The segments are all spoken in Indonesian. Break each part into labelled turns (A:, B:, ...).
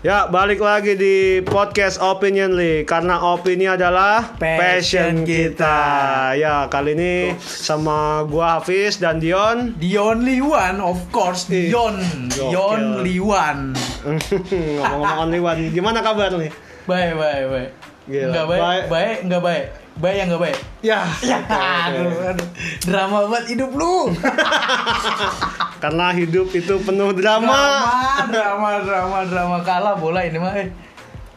A: Ya, balik lagi di podcast Opinionly karena opini adalah passion,
B: Passion
A: kita.
B: kita.
A: Ya, kali ini sama gua Hafiz dan Dion.
B: The only one, of course,
A: Ih,
B: Dion,
A: Eh, gokil.
B: The only one.
A: Ngomong-ngomong only one, gimana kabar nih?
B: Bye bye bye.
A: Gila,
B: Nggak baik,
A: bye.
B: baik, nggak baik, baik yang nggak baik.
A: Ya, oke, oke.
B: Aduh, aduh, drama banget hidup lu.
A: karena hidup itu penuh
B: drama,
A: drama.
B: drama, drama, drama kalah bola ini mah. Eh,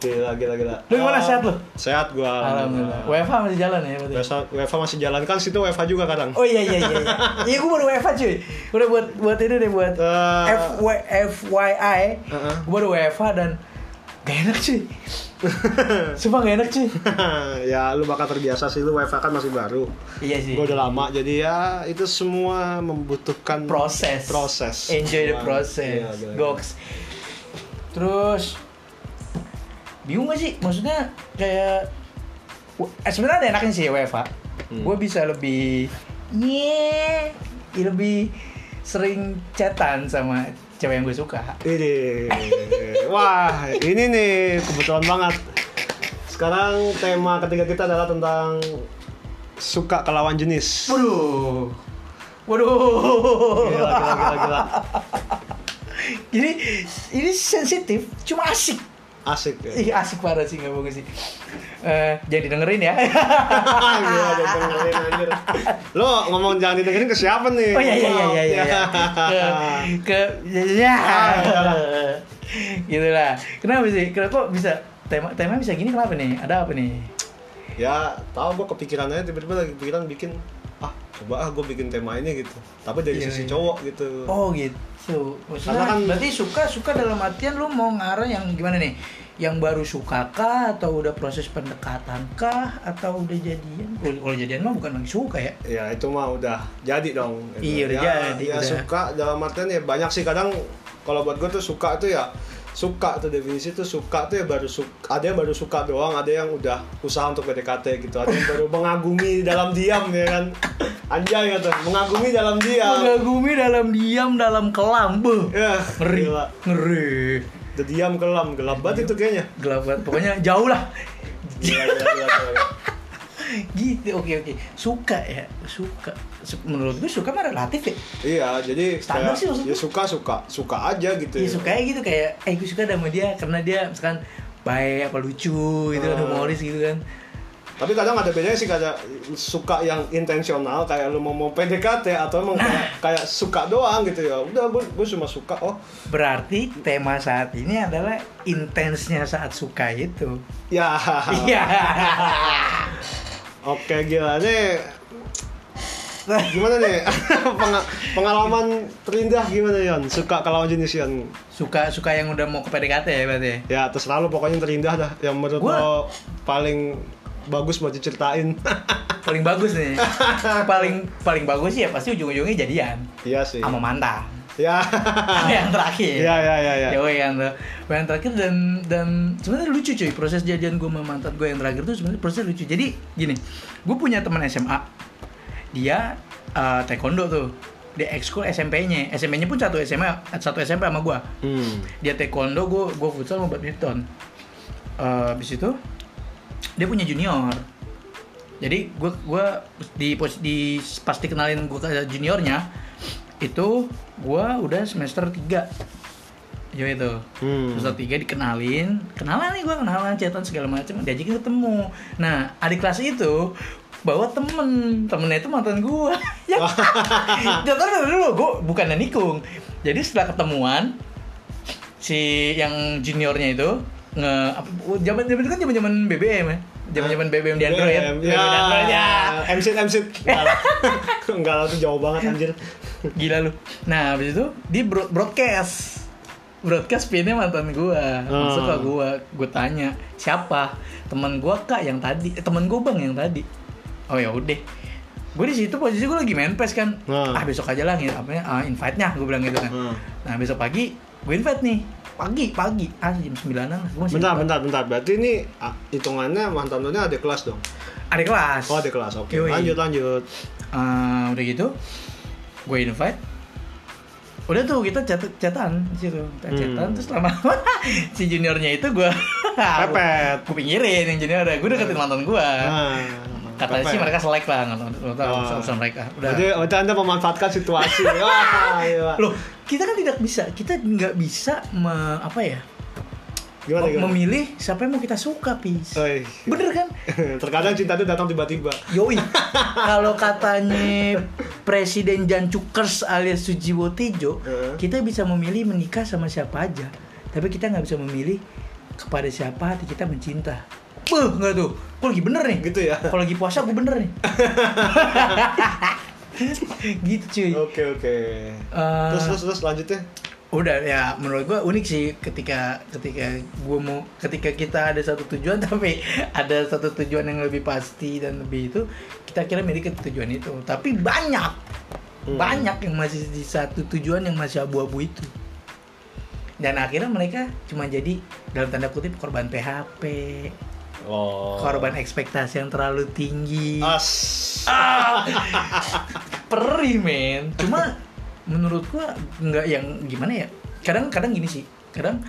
A: Gila, gila, gila.
B: Lu gimana,
A: Ah,
B: sehat lu?
A: Sehat gua.
B: Alhamdulillah. WFH masih jalan ya berarti.
A: Biasa WFA masih jalan kan situ WFA juga kadang.
B: Oh iya iya iya. iya. Iya gue baru WFH cuy. Udah buat buat ini deh buat
A: Eh.
B: FW, FYI.
A: Heeh.
B: Gue baru WFH dan gak enak cuy. Sumpah gak enak cuy.
A: ya, lu bakal terbiasa sih lu WFA kan masih baru.
B: Iya sih.
A: Gue udah lama jadi ya itu semua membutuhkan
B: Proses.
A: Proses. Iya,
B: Enjoy the
A: Wah,
B: process.
A: gila, gila, gila.
B: Goks. Terus bingung gak sih? Maksudnya kayak w- eh, sebenarnya ada enaknya sih WFH.
A: Hmm.
B: Gue bisa lebih yeah, lebih sering chatan sama cewek yang gue suka.
A: Ini, wah ini nih kebetulan banget. Sekarang tema ketiga kita adalah tentang suka ke lawan jenis.
B: Waduh. Waduh.
A: Gila, gila, gila, gila.
B: Jadi ini sensitif, cuma asik.
A: Asik ya.
B: Ih, asik parah sih nggak bagus sih. Eh, jadi dengerin ya.
A: Gila, udah dengerin, anjir. Lo ngomong jangan didengerin ke siapa nih?
B: oh iya iya iya iya iya. iya. Ke, ke ya. gitu lah. Kenapa sih? Kenapa kok bisa tema tema bisa gini kenapa nih? Ada apa nih?
A: ya tahu gue kepikiran aja tiba-tiba lagi pikiran bikin ah coba ah gue bikin tema ini gitu tapi dari
B: Iya,
A: sisi
B: iya.
A: cowok gitu
B: Oh gitu. Maksudnya
A: Karena kan-
B: berarti suka suka dalam artian lu mau ngarah yang gimana nih? Yang baru suka kah atau udah proses pendekatan kah atau udah jadian? Kalau kalau jadian mah bukan lagi suka ya.
A: ya itu mah udah jadi dong
B: Iya, udah
A: ya,
B: jadi,
A: ya
B: udah.
A: suka dalam artian ya banyak sih kadang kalau buat gue tuh suka tuh ya suka tuh definisi tuh suka tuh ya baru suka ada yang baru suka doang ada yang udah usaha untuk PDKT gitu ada yang baru mengagumi dalam diam ya kan anjay gitu mengagumi dalam diam
B: Mengagumi dalam diam dalam kelam. Beuh.
A: ya
B: Ngeri. Iya.
A: gila.
B: Ngeri.
A: The diam kelam gelap banget itu kayaknya
B: Gelap banget. Pokoknya jauh lah.
A: Gila,
B: Iya,
A: gila, gila, gila.
B: Gitu. Oke oke. Suka ya. Suka. Se- Menurut gue suka mah relatif ya.
A: Iya, jadi
B: Standar
A: kayak,
B: sih maksudnya.
A: ya suka suka suka aja gitu.
B: Iya suka gitu kayak eh gue suka sama dia karena dia misalkan baik apa lucu gitu kan
A: Ah.
B: humoris gitu kan.
A: Tapi kadang ada bedanya sih kayak suka yang intensional kayak lu mau mau PDKT atau emang kayak,
B: Nah.
A: kayak suka doang gitu ya. Udah gue gue cuma suka oh
B: Berarti tema saat ini adalah intensnya saat suka itu.
A: ya.
B: Iya.
A: Oke gila nih gimana nih Penga- pengalaman terindah gimana Yon suka ke lawan jenis Yon
B: suka suka yang udah mau ke PDKT ya berarti. ya?
A: ya terserah lu pokoknya yang terindah dah yang menurut
B: Gua-
A: lo paling bagus buat diceritain
B: Paling bagus nih. paling paling bagus sih ya pasti ujung-ujungnya jadian
A: iya sih
B: sama mantan.
A: ya
B: yang terakhir.
A: ya ya ya ya
B: Yo, yang ter- yang terakhir dan dan sebenarnya lucu cuy proses jadian gue sama mantan gue yang terakhir tuh sebenarnya prosesnya lucu. Jadi gini, gue punya teman SMA, dia eh, taekwondo tuh, dia ekskul SMP-nya, SMP-nya pun satu SMA satu SMP sama gue.
A: Hmm.
B: Dia taekwondo, gue gue futsal sama badminton. Eh, habis itu dia punya junior. Jadi gue gua di, pos- di pas dikenalin gue ke juniornya itu gue udah semester 3 Yo itu
A: Hmm.
B: semester 3 dikenalin kenalan nih gue kenalan chatan segala macam diajakin ketemu nah adik kelas itu bawa temen temennya itu mantan gue ya jangan dulu dulu gue bukannya nikung jadi setelah ketemuan si yang juniornya itu nge apa- zaman zaman itu kan zaman zaman BBM ya zaman zaman BBM di Android
A: BBM,
B: BBM di Android,
A: Ya.
B: ya.
A: MC MC. Enggak lah. Enggak lah itu jauh banget anjir.
B: gila lu nah habis itu di bro- broadcast broadcast pinnya mantan gua
A: Hmm.
B: masuk ke gua gua tanya siapa teman gua kak yang tadi eh, teman gua bang yang tadi oh ya udah gue di situ posisi gua lagi main pes kan
A: Hmm.
B: ah besok aja lah apa invite nya gua bilang gitu kan
A: Hmm.
B: nah besok pagi gua invite nih pagi pagi ah jam sembilanan lah gua masih
A: Bentar,
B: lupa.
A: bentar, bentar. Berarti ini ah, hitungannya mantan lu ada kelas dong.
B: ada kelas
A: Oh, ada kelas. Oke.
B: Yoi.
A: Lanjut, lanjut.
B: Eh, udah gitu gue invite udah tuh kita cat catatan di situ kita
A: Hmm.
B: catatan terus lama-lama si juniornya itu gue
A: Pepet.
B: gue pinggirin yang junior gue deketin mantan gue
A: Nah,
B: katanya Eh,
A: pepet.
B: sih mereka selek lah nggak tahu- nggak tahu
A: Oh.
B: urusan mereka udah
A: Berarti, berarti anda memanfaatkan situasi. Wah, iya. gila.
B: loh kita kan tidak bisa kita nggak bisa me- apa ya
A: gimana Oh, iya. gimana?
B: memilih siapa yang mau kita suka pis
A: Oi.
B: bener kan
A: Terkadang cinta itu datang tiba-tiba.
B: yoi kalau katanya presiden Jan Cukers alias Sujiwo Tejo
A: Heeh.
B: kita bisa memilih menikah sama siapa aja tapi kita nggak bisa memilih kepada siapa hati kita mencinta Beuh, nggak tuh gue lagi bener nih
A: Gitu ya?
B: kalau lagi puasa gue bener nih gitu cuy
A: Oke oke.
B: Eh,
A: Terus terus terus lanjutnya.
B: udah ya menurut gua unik sih ketika ketika gua mau ketika kita ada satu tujuan tapi ada satu tujuan yang lebih pasti dan lebih itu kita kira milik ke tujuan itu tapi banyak
A: Hmm.
B: banyak yang masih di satu tujuan yang masih abu-abu itu dan akhirnya mereka cuma jadi dalam tanda kutip korban PHP
A: Oh.
B: korban Ah. ekspektasi yang terlalu tinggi
A: As.
B: perih men cuma menurut gua nggak yang gimana ya kadang-kadang gini sih kadang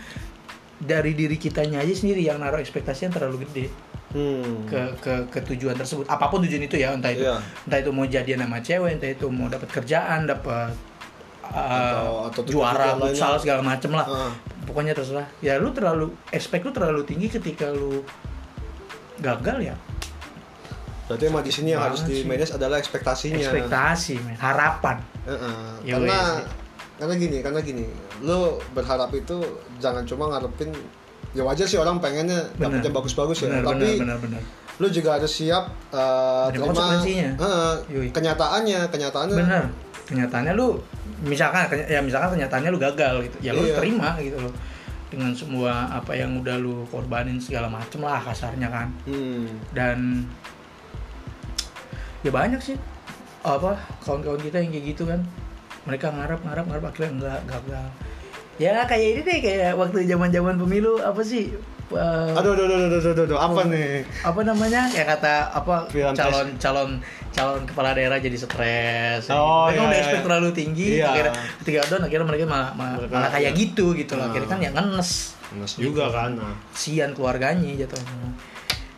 B: dari diri kitanya aja sendiri yang naruh ekspektasi yang terlalu gede
A: Hmm.
B: ke ke ke tujuan tersebut apapun tujuan itu ya entah itu
A: Iya.
B: entah itu mau jadian sama cewek entah itu mau dapat kerjaan dapat
A: Atau- atau tujuan
B: juara
A: lainnya.
B: futsal segala macem lah
A: Heeh.
B: pokoknya terserah ya lu terlalu expect lu terlalu tinggi ketika lu gagal ya
A: Berarti emang di sini yang
B: Banget
A: harus di
B: sih.
A: manage adalah ekspektasinya.
B: ekspektasi men harapan
A: Heeh.
B: Ya,
A: karena
B: wes, ya.
A: karena gini, karena gini. Lu berharap itu jangan cuma ngarepin ya wajar sih orang pengennya
B: Bener.
A: dapetnya bagus-bagus ya,
B: benar
A: tapi
B: benar benar benar
A: lu juga harus siap uh,
B: Ada
A: terima
B: konsekuensinya.
A: Heeh,
B: Yui.
A: kenyataannya, kenyataannya.
B: Bener. Kenyataannya lu misalkan keny- ya misalkan kenyataannya lu gagal gitu. Ya lu
A: Iya.
B: terima gitu loh. Dengan semua apa yang udah lu korbanin segala macem lah kasarnya kan.
A: Hmm.
B: Dan ya banyak sih apa kawan-kawan kita yang kayak gitu kan. Mereka ngarap ngarap ngarap akhirnya enggak gagal. Ya kayak ini deh kayak waktu zaman-zaman pemilu apa sih? eh,
A: Aduh, aduh, aduh, aduh, aduh, aduh, aduh, apa
B: Oh.
A: nih?
B: apa namanya ya kata apa
A: Freelance.
B: calon calon calon kepala daerah jadi stres ya
A: Oh,
B: gitu. mereka
A: iya,
B: udah
A: iya.
B: expect terlalu tinggi
A: Iya.
B: akhirnya ketika down akhirnya mereka malah malah,
A: Mereka-
B: malah kayak gitu gitu loh
A: Nah.
B: akhirnya kan yang ngenes
A: Mas juga kan. Nah.
B: sian keluarganya jatuhnya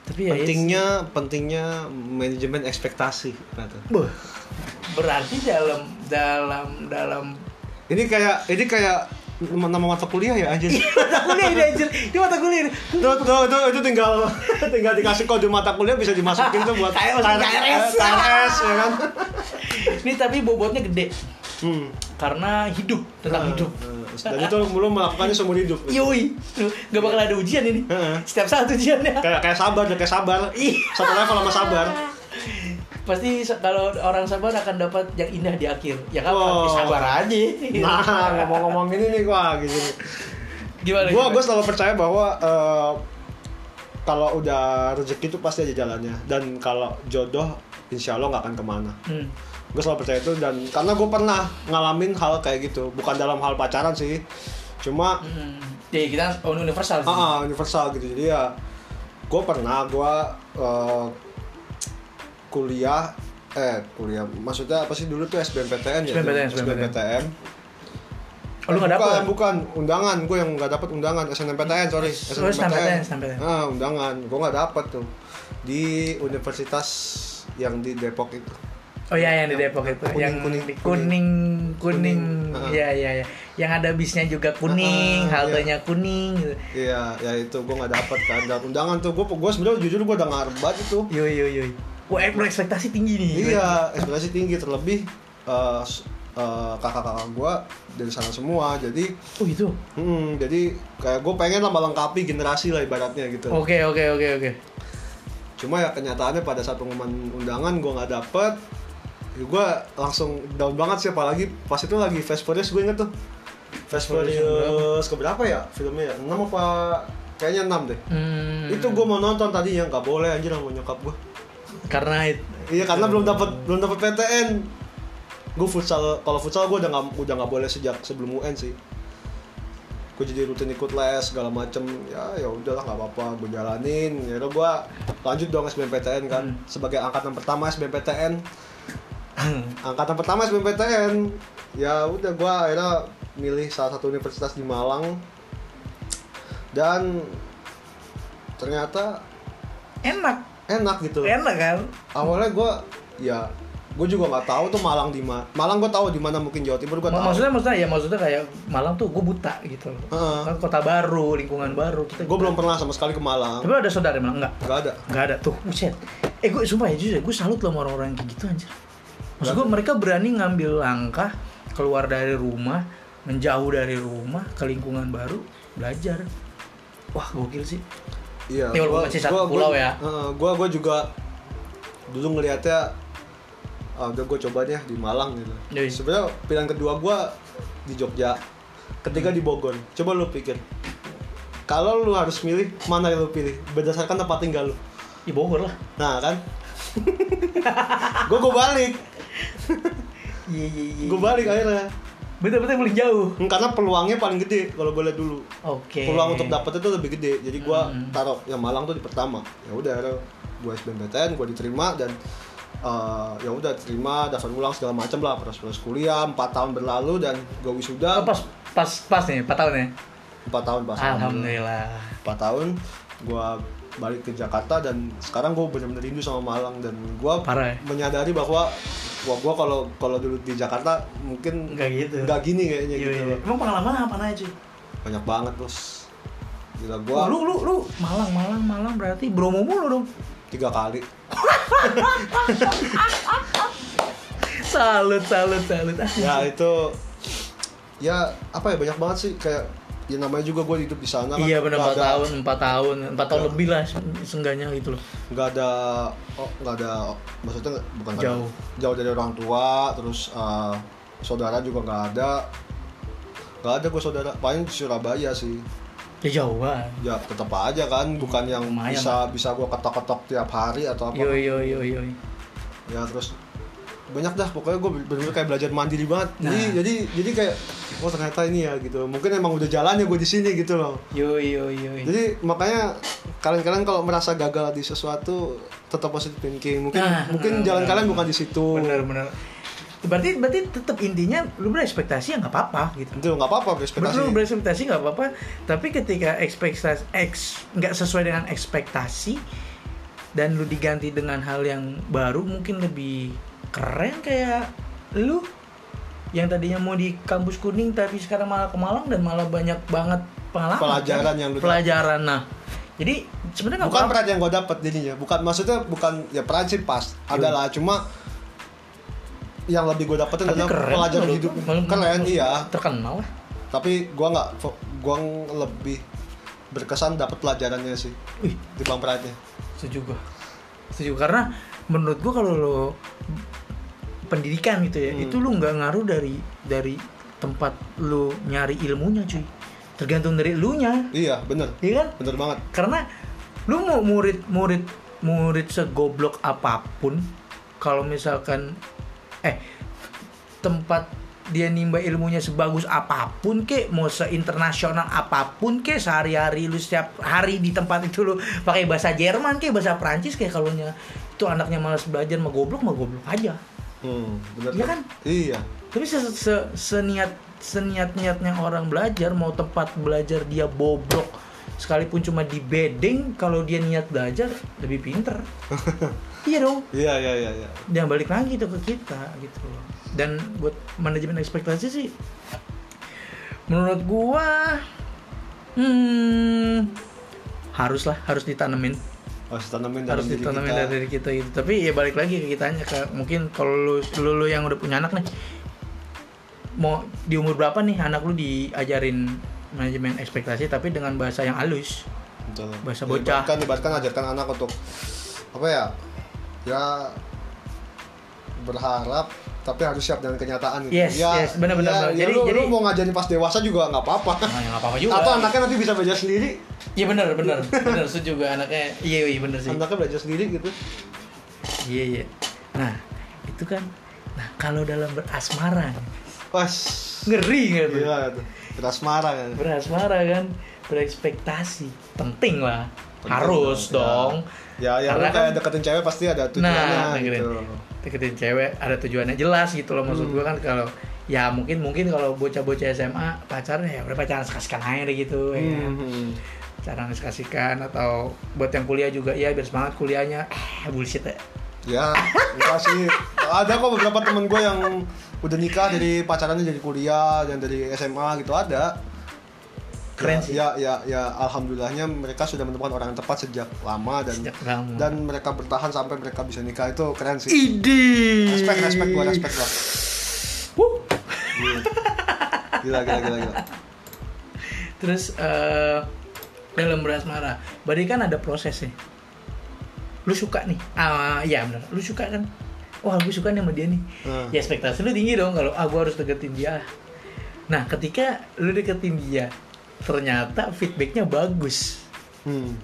B: tapi ya
A: Pentingnya, pentingnya manajemen ekspektasi. Kata.
B: ya, beuh. berarti dalam dalam dalam
A: Ini kayak, ini kayak nama mata kuliah ya anjir.
B: mata kuliah ini anjir ini mata kuliah ini.
A: Tuh, tuh, itu, itu tinggal tinggal dikasih kode mata kuliah bisa dimasukin tuh buat
B: Kayak masuk KRS.
A: KRS, ya kan?
B: ini tapi bobotnya gede
A: Hmm.
B: karena hidup tentang hidup
A: Eh,
B: Iya.
A: Dan itu belum melakukannya seumur hidup.
B: Yoi, Tuh, gak bakal ada ujian ini.
A: Heeh.
B: Setiap saat ujiannya.
A: Kayak kayak sabar, kayak sabar.
B: Iya.
A: Satu level sama sabar.
B: Pasti se- kalau orang sabar akan dapat yang indah di akhir. Ya kan?
A: Wow.
B: Sabar aja.
A: Nah, ngomong-ngomong ini nih gua gitu.
B: Gimana?
A: Gua
B: gimana?
A: gua selalu percaya bahwa eh, kalau udah rezeki itu pasti aja jalannya dan kalau jodoh insya Allah nggak akan kemana
B: Hmm.
A: gue selalu percaya itu dan karena gue pernah ngalamin hal kayak gitu bukan dalam hal pacaran sih cuma
B: Hmm. Ya, kita on universal sih.
A: ah, ah, universal gitu jadi ya gue pernah gue eh, kuliah eh kuliah maksudnya apa sih dulu tuh SBMPTN ya
B: SBMPTN.
A: SBMPTN
B: Oh, lu
A: bukan,
B: nggak dapet?
A: bukan undangan gue yang nggak dapet undangan SNMPTN sorry
B: Oh, SNMPTN.
A: Ah, undangan gue nggak dapet tuh di universitas yang di Depok itu
B: Oh iya yang di Depok itu
A: Kuning,
B: yang
A: kuning,
B: kuning kuning kuning.
A: Kuning.
B: Iya iya iya. Yang ada bisnya juga kuning,
A: Ah,
B: haltenya kuning gitu.
A: Iya, ya itu gue nggak dapet kan dan undangan tuh gue gue sebenarnya jujur gue udah ngarep banget itu.
B: Yoi yoi yoi. Wah, eh, lu ekspektasi tinggi nih.
A: Iya, ekspektasi tinggi terlebih eh, s- eh, kakak-kakak gue dari sana semua, jadi
B: Oh itu.
A: hmm, jadi kayak gue pengen lah melengkapi generasi lah ibaratnya gitu.
B: Oke oke oke oke.
A: Cuma ya kenyataannya pada saat pengumuman undangan gue nggak dapet, gue langsung down banget sih apalagi pas itu lagi Fast Furious gue inget tuh Fast Furious keberapa ya filmnya ya? 6 apa kayaknya 6 deh
B: Hmm.
A: itu gue mau nonton tadinya nggak boleh anjir sama nyokap gue
B: karena it-
A: Iya karena belum dapat belum dapat PTN. Gue futsal kalau futsal gue udah nggak udah nggak boleh sejak sebelum UN sih. Gue jadi rutin ikut les segala macem ya ya udahlah nggak apa-apa gue jalanin. Ya udah gue lanjut dong SBMPTN kan sebagai angkatan pertama SBMPTN. Angkatan pertama SBMPTN ya udah gue akhirnya milih salah satu universitas di Malang dan ternyata
B: enak
A: enak gitu
B: enak kan
A: awalnya gue ya gue juga nggak tahu tuh Malang di mana Malang gue tahu di mana mungkin Jawa Timur gue
B: Ma-
A: tahu
B: maksudnya maksudnya ya maksudnya kayak Malang tuh gue buta gitu loh.
A: Heeh.
B: Kan kota baru lingkungan baru kita
A: gue belum pernah sama sekali ke Malang
B: tapi ada saudara yang Malang enggak
A: nggak ada
B: Gak ada tuh, buset. Eh gue sumpah ya jujur ya, gue salut loh sama orang-orang yang kayak gitu anjir. Maksud gue mereka berani ngambil langkah keluar dari rumah, menjauh dari rumah ke lingkungan baru, belajar. Wah gokil sih.
A: Iya.
B: Ini walaupun masih satu pulau ya.
A: Heeh, gua gua juga dulu ngelihatnya ah, udah gua coba deh di Malang gitu.
B: Yoi.
A: Sebenarnya pilihan kedua gua di Jogja, ketiga di Bogor. Coba lu pikir. Kalau lu harus milih mana yang lu pilih berdasarkan tempat tinggal lu.
B: Di Bogor lah.
A: Nah, kan? gua gua balik.
B: Iya iya iya.
A: Gua balik akhirnya.
B: Betul-betul paling jauh.
A: Hmm, Karena peluangnya paling gede kalau gue lihat dulu.
B: Oke.
A: Peluang untuk dapet itu lebih gede. Jadi gua
B: Hmm.
A: taruh yang Malang tuh di pertama. Ya udah akhirnya gua SBMPTN, gua diterima dan eh, ya udah terima daftar ulang segala macam lah proses-proses kuliah 4 tahun berlalu dan gue wisuda
B: Oh, pas pas pas nih, 4 tahun ya.
A: 4 tahun pas
B: Alhamdulillah.
A: 4 tahun gua balik ke Jakarta dan sekarang gue benar-benar rindu sama Malang dan gua
B: Parah ya?
A: menyadari bahwa wah gua kalau kalau dulu di Jakarta mungkin
B: Enggak gitu.
A: nggak gini kayaknya
B: Iya,
A: gitu
B: iya.
A: loh.
B: Emang pengalaman apa aja?
A: banyak banget bos gila gua
B: Wah, Oh, lu lu lu Malang Malang Malang berarti Bromo mulu dong.
A: tiga kali
B: Salut salut salut. Ah.
A: ya itu ya apa ya banyak banget sih kayak ya namanya juga gue hidup di sana kan.
B: Iya benar
A: Nggak
B: 4
A: ada-
B: tahun, 4 tahun, 4
A: Iya.
B: tahun lebih lah se- seenggaknya gitu loh.
A: nggak ada oh, nggak ada maksudnya nggak- bukan nggak ada.
B: Jauh.
A: jauh dari orang tua terus eh, saudara juga nggak ada nggak ada gue saudara paling di Surabaya sih
B: Ya jauh banget.
A: ya tetap aja kan bukan yang
B: Lumayan Iya,
A: bisa bisa gue ketok-ketok tiap hari atau apa
B: Yo yo yo yo.
A: ya terus banyak dah pokoknya gue bener-bener kayak belajar mandiri banget jadi
B: Nah.
A: jadi jadi kayak oh ternyata ini ya gitu mungkin emang udah jalannya gue di sini gitu loh
B: Yo yo yo.
A: jadi makanya kalian-kalian kalau merasa gagal di sesuatu tetap positive thinking mungkin
B: Nah,
A: mungkin
B: nah,
A: jalan
B: benar,
A: kalian
B: benar.
A: bukan di situ
B: Benar benar. Berarti berarti tetap intinya lu berekspektasi ya nggak apa-apa gitu.
A: itu nggak apa-apa
B: Berarti
A: ekspektasi
B: lu berekspektasi nggak apa-apa, tapi ketika ekspektasi eks nggak sesuai dengan ekspektasi dan lu diganti dengan hal yang baru mungkin lebih keren kayak lu yang tadinya mau di kampus kuning tapi sekarang malah ke Malang dan malah banyak banget pengalaman kan?
A: Pelajaran yang lu
B: pelajaran nah jadi sebenarnya nggak
A: bukan
B: apa-apa.
A: peran yang gue dapat jadinya bukan maksudnya bukan ya peran sih pas
B: Iya.
A: adalah cuma yang lebih gue dapetin
B: tapi
A: adalah
B: keren
A: pelajaran
B: loh.
A: hidup
B: Mal-
A: keren
B: mal-
A: iya
B: terkenal lah
A: tapi gua nggak fo- gua ng- lebih berkesan dapat pelajarannya sih
B: Wih,
A: di perannya
B: setuju gua setuju karena menurut gua kalau lo pendidikan gitu ya
A: Hmm.
B: itu lu nggak ngaruh dari dari tempat lu nyari ilmunya cuy tergantung dari lu nya
A: iya bener
B: iya kan
A: bener banget
B: karena lu mau murid murid murid segoblok apapun kalau misalkan eh tempat dia nimba ilmunya sebagus apapun kek mau seinternasional apapun kek sehari-hari lu setiap hari di tempat itu lu pakai bahasa Jerman kek bahasa Prancis kek kalau nya itu anaknya malas belajar mah goblok mah goblok aja
A: hmm, bener
B: Iya kan?
A: iya
B: tapi se se- seniat seniat niatnya orang belajar mau tempat belajar dia bobrok sekalipun cuma di bedeng kalau dia niat belajar lebih pinter iya dong
A: iya iya iya, iya.
B: dan balik lagi tuh ke kita gitu loh dan buat manajemen ekspektasi sih menurut gua hmm haruslah harus ditanemin
A: harus tanamin dalam
B: harus
A: diri
B: ditanamin
A: kita.
B: dari diri kita gitu tapi ya balik lagi ke kitanya ke mungkin kalau lu, lu lu yang udah punya anak nih mau di umur berapa nih anak lu diajarin manajemen ekspektasi tapi dengan bahasa yang halus
A: Betul.
B: Bahasa
A: Jadi,
B: bocah.
A: bahkan ibaratkan ajarkan anak untuk apa ya ya berharap tapi harus siap dengan kenyataan gitu.
B: Yes,
A: ya,
B: yes, benar, benar,
A: ya,
B: benar.
A: ya
B: Jadi-
A: lu, lu
B: jadi-
A: mau ngajarin pas dewasa juga nggak apa-apa
B: nah, yang apa apa juga
A: atau anaknya nanti bisa belajar sendiri
B: iya benar benar benar setuju gua anaknya iya iya benar sih
A: anaknya belajar sendiri gitu
B: iya iya nah itu kan nah kalau dalam berasmara
A: pas
B: ngeri nggak tuh
A: Gila tuh. Berasmara kan.
B: berasmara kan berekspektasi penting lah
A: Penting
B: harus dong
A: Ya, ya lu
B: Karena
A: kayak
B: kan-
A: deketin cewek pasti ada tujuannya
B: Nah,
A: gitu. Hmm.
B: dengerin. deketin cewek ada tujuannya jelas gitu loh maksud gua kan kalau ya mungkin mungkin kalau bocah-bocah SMA pacarnya ya udah pacaran sekasikan aja deh gitu ya kan.
A: Hmm.
B: Pacaran sekasikan atau buat yang kuliah juga ya biar semangat kuliahnya ah bullshit ya
A: Ya, enggak sih. Ada kok beberapa temen gue yang udah nikah dari pacarannya dari kuliah dan dari SMA gitu ada.
B: Keren
A: ya,
B: sih.
A: Ya, ya, ya, alhamdulillahnya mereka sudah menemukan orang yang tepat sejak lama dan
B: Sejak lama.
A: dan mereka bertahan sampai mereka bisa nikah itu keren sih.
B: ide
A: Respect, respect gue, respect gue.
B: Wuh.
A: Gila, gila, gila, gila.
B: terus eh, dalam berasmara berarti kan ada prosesnya lu suka nih ah iya benar lu suka kan wah gue suka nih sama dia nih
A: Hmm.
B: ya ekspektasi lu tinggi dong kalau ah gue harus deketin dia nah ketika lu deketin dia ternyata feedbacknya bagus
A: Hmm.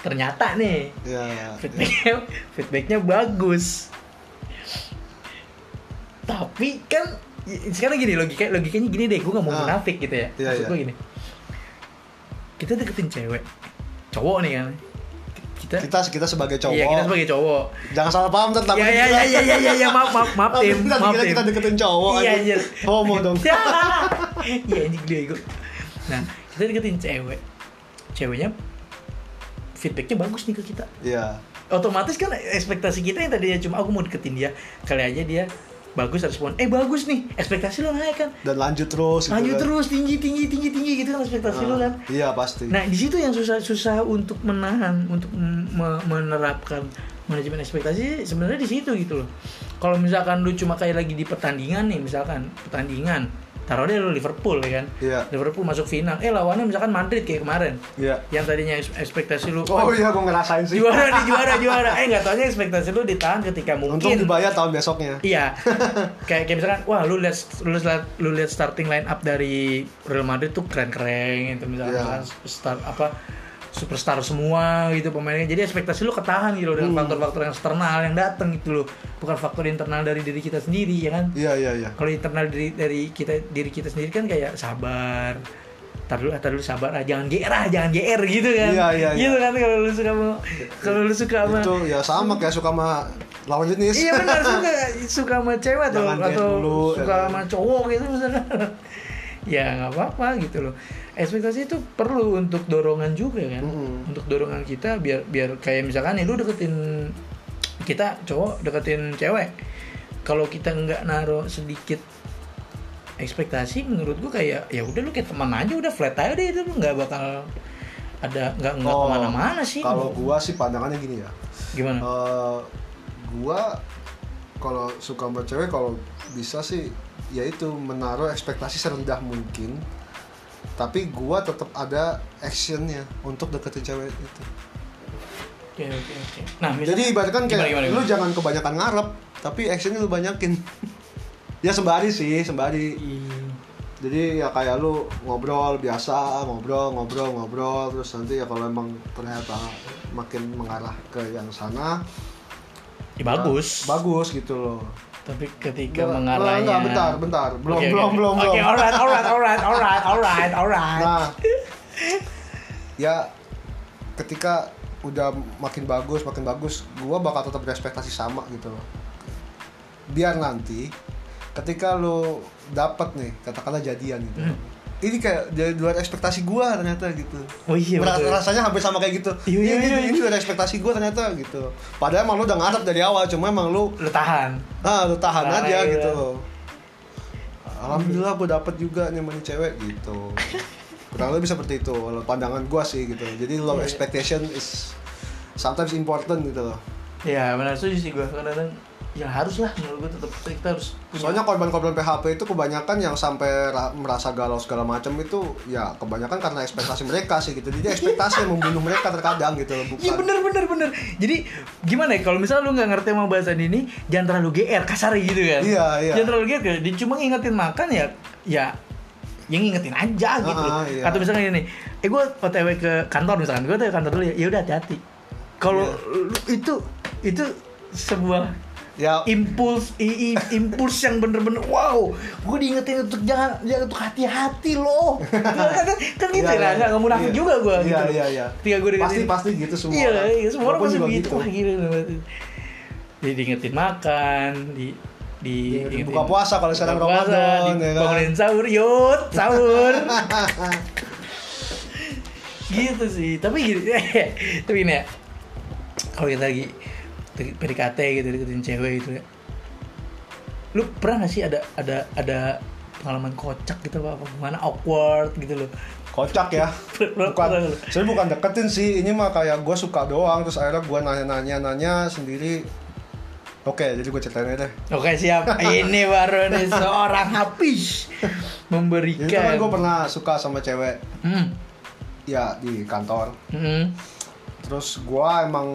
B: ternyata nih
A: Ya.
B: feedbacknya feedbacknya bagus tapi kan i- sekarang gini logika logikanya gini deh gue gak mau
A: Ah.
B: munafik gitu ya
A: Iya,
B: maksud
A: iya.
B: gue gini kita deketin cewek cowok nih kan kita,
A: Kita kita sebagai cowok.
B: iya kita sebagai cowok
A: Jangan salah paham tetap.
B: Iya iya iya iya iya iya ya, maaf maaf maaf tim
A: Kita
B: maaf
A: dikira
B: tim
A: kita deketin cowok.
B: Iya,
A: anjing.
B: iya.
A: Homo dong.
B: Ya. Iya anjing dia ego. Nah, kita deketin cewek. Ceweknya feedbacknya bagus nih ke kita.
A: Iya.
B: Otomatis kan ekspektasi kita yang tadinya cuma aku mau deketin dia, kali aja dia bagus respon. Eh bagus nih, ekspektasi lo naik kan.
A: Dan lanjut terus. gitu
B: Lanjut
A: kan.
B: terus tinggi tinggi tinggi tinggi gitu kan ekspektasi lo
A: Ah,
B: kan.
A: Iya pasti.
B: Nah, di situ yang susah susah untuk menahan, untuk me- menerapkan manajemen ekspektasi sebenarnya di situ gitu loh. Kalau misalkan lu cuma kayak lagi di pertandingan nih, misalkan pertandingan, taruh deh lu Liverpool ya kan.
A: Iya.
B: Liverpool masuk final, eh lawannya misalkan Madrid kayak kemarin.
A: Iya.
B: Yang tadinya eks- ekspektasi lu
A: Oh
B: "Wah,
A: iya, gue ngerasain sih.
B: juara nih juara juara. Eh nggak taunya ekspektasi lu ditahan ketika mungkin
A: Untung dibayar tahun besoknya.
B: Iya. kayak kayak misalkan wah lu lihat lu lihat lu lihat starting line up dari Real Madrid tuh keren-keren gitu misalkan
A: Iya.
B: misalkan star apa superstar semua gitu pemainnya. Jadi ekspektasi lu ketahan gitu loh dengan
A: Hmm.
B: faktor-faktor yang eksternal yang datang gitu loh. Bukan faktor internal dari diri kita sendiri ya kan.
A: Iya iya iya.
B: Kalau internal dari dari kita diri kita sendiri kan kayak sabar. Ntar dulu, ntar dulu sabar ah, jangan GR ah, jangan GR gitu kan.
A: Iya, iya,
B: Gitu
A: iya.
B: kan kalau lu suka mau kalau lu suka sama
A: Itu ya sama kayak suka sama lawan jenis.
B: iya benar suka suka sama cewek atau
A: Jangan
B: atau
A: date dulu,
B: suka
A: ya.
B: sama cowok gitu misalnya ya nggak apa-apa gitu loh ekspektasi itu perlu untuk dorongan juga kan
A: Mm-mm.
B: untuk dorongan kita biar biar kayak misalkan nih lu deketin kita cowok deketin cewek kalau kita nggak naruh sedikit ekspektasi menurut gua kayak ya udah lu kayak teman aja udah flat aja deh itu lu nggak bakal ada nggak nggak
A: Oh,
B: kemana-mana sih
A: Kalau gua sih pandangannya gini ya.
B: gimana
A: Eh, gua kalau suka sama cewek kalau bisa sih yaitu menaruh ekspektasi serendah mungkin tapi gua tetap ada actionnya untuk deketin cewek itu
B: oke oke oke nah misalkan,
A: Jadi ibaratkan kayak
B: Gimana, gimana,
A: lu
B: gimana?
A: jangan kebanyakan ngarep, tapi actionnya lu banyakin. ya sembari sih, sembari.
B: Iya.
A: Jadi ya kayak lu ngobrol biasa, ngobrol, ngobrol, ngobrol, terus nanti ya kalau emang ternyata makin mengarah ke yang sana,
B: Ya, bagus.
A: ya, bagus gitu loh.
B: Tapi ketika
A: Enggak,
B: mengarahnya.
A: enggak, bentar, bentar. Belum,
B: Oke, oke,
A: belum,
B: oke.
A: belum,
B: Oke,
A: belum.
B: alright, alright, alright, alright, alright, alright.
A: Nah, ya ketika udah makin bagus, makin bagus, gua bakal tetap berespektasi sama gitu loh. Biar nanti ketika lo dapat nih, katakanlah jadian gitu.
B: Hmm.
A: Ini kayak di luar ekspektasi gua ternyata gitu.
B: Oh iya,
A: Ra-
B: betul.
A: rasanya hampir sama kayak gitu.
B: Iya, iya,
A: Ini- ini,
B: iya, iya.
A: ini luar ekspektasi gua ternyata gitu. Padahal emang lu udah ngarep dari awal, cuma emang lu
B: Lu tahan.
A: ah lu tahan
B: Tahan
A: aja
B: aja.
A: gitu loh alhamdulillah gue dapet juga nyaman cewek gitu kurang lebih seperti itu kalau pandangan gue sih gitu jadi low
B: Iya.
A: expectation is sometimes important gitu loh
B: Ya, benar setuju sih gua kadang-kadang ya harus lah menurut gua tetap kita harus punya.
A: soalnya korban-korban PHP itu kebanyakan yang sampai ra- merasa galau segala macam itu ya kebanyakan karena ekspektasi mereka sih gitu jadi ekspektasi yang membunuh mereka terkadang gitu loh bukan
B: Iya bener bener bener. Jadi gimana ya kalau misalnya lu nggak ngerti sama bahasan ini, jangan terlalu GR kasar gitu kan.
A: Iya, iya.
B: Jangan terlalu GR. Dia cuma ngingetin makan ya ya yang ngingetin aja gitu.
A: Ah, iya.
B: Atau misalnya gini, eh gue OTW ke kantor misalkan, gue ke kantor dulu ya, ya udah hati-hati. Kalau
A: Iya.
B: lu- itu itu sebuah
A: ya
B: impuls i- i- impuls yang bener-bener wow gue diingetin untuk jangan jangan untuk hati-hati loh kan, kan, kan gitu
A: Iya,
B: ya
A: iya.
B: nggak nggak munafik
A: Iya.
B: juga gue
A: Iya,
B: gitu
A: iya, iya.
B: Ketika gua
A: Pasti-
B: diingetin-
A: pasti gitu semua
B: iya
A: orang. gitu.
B: iya, semua
A: Walaupun
B: orang pasti
A: juga
B: begitu
A: gitu.
B: wah gila banget. jadi diingetin makan di di,
A: Iya,
B: diingetin.
A: buka puasa kalau sekarang
B: Buka puasa,
A: Ramadan, ya kan?
B: dibangunin sahur yut sahur gitu sih tapi gini tapi ini ya kalau kita lagi PDKT gitu deketin cewek gitu ya lu pernah gak sih ada ada ada pengalaman kocak gitu apa gimana awkward gitu loh
A: kocak ya bukan
B: Pernah- pernah-
A: sebenarnya bukan deketin sih ini mah kayak gue suka doang terus akhirnya gue nanya-nanya nanya sendiri oke jadi gue ceritain aja deh
B: Oke siap, ini baru nih seorang habis memberikan.
A: jadi kan gue pernah suka sama cewek
B: Hmm.
A: ya di kantor
B: Hmm.
A: terus gua emang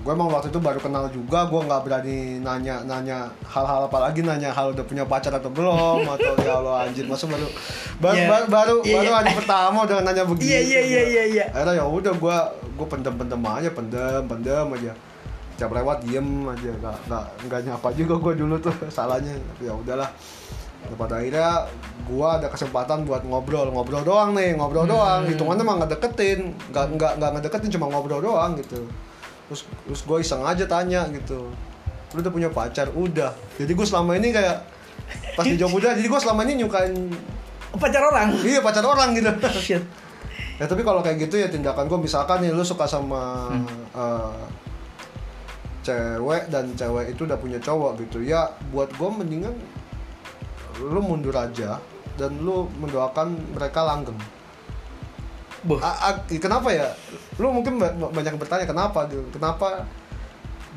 A: gue emang waktu itu baru kenal juga gua nggak berani nanya nanya hal-hal apa lagi nanya hal udah punya pacar atau belum atau ya Allah anjir masa baru baru
B: Iya.
A: baru baru,
B: Iya,
A: baru
B: iya.
A: hari pertama udah nanya begitu
B: Iya iya iya iya iya.
A: akhirnya ya udah gue gue pendem pendem aja pendem pendem aja tiap lewat diem aja nggak nggak nggak nyapa juga gue dulu tuh salahnya tapi ya udahlah Dan pada akhirnya gue ada kesempatan buat ngobrol ngobrol doang nih ngobrol
B: Hmm.
A: doang hitungannya emang nggak deketin nggak nggak nggak ngedeketin cuma ngobrol doang gitu terus terus gue iseng aja tanya gitu lu udah punya pacar udah jadi gue selama ini kayak pas dijawab udah jadi gue selama ini nyukain
B: Pacar orang.
A: iya pacar orang gitu
B: Shit.
A: ya tapi kalau kayak gitu ya tindakan gue misalkan nih lu suka sama
B: Hmm.
A: eh, cewek dan cewek itu udah punya cowok gitu ya buat gue mendingan lu mundur aja dan lu mendoakan mereka langgeng
B: Boh.
A: A- a- kenapa ya lu mungkin ba- ba- banyak yang bertanya kenapa gitu kenapa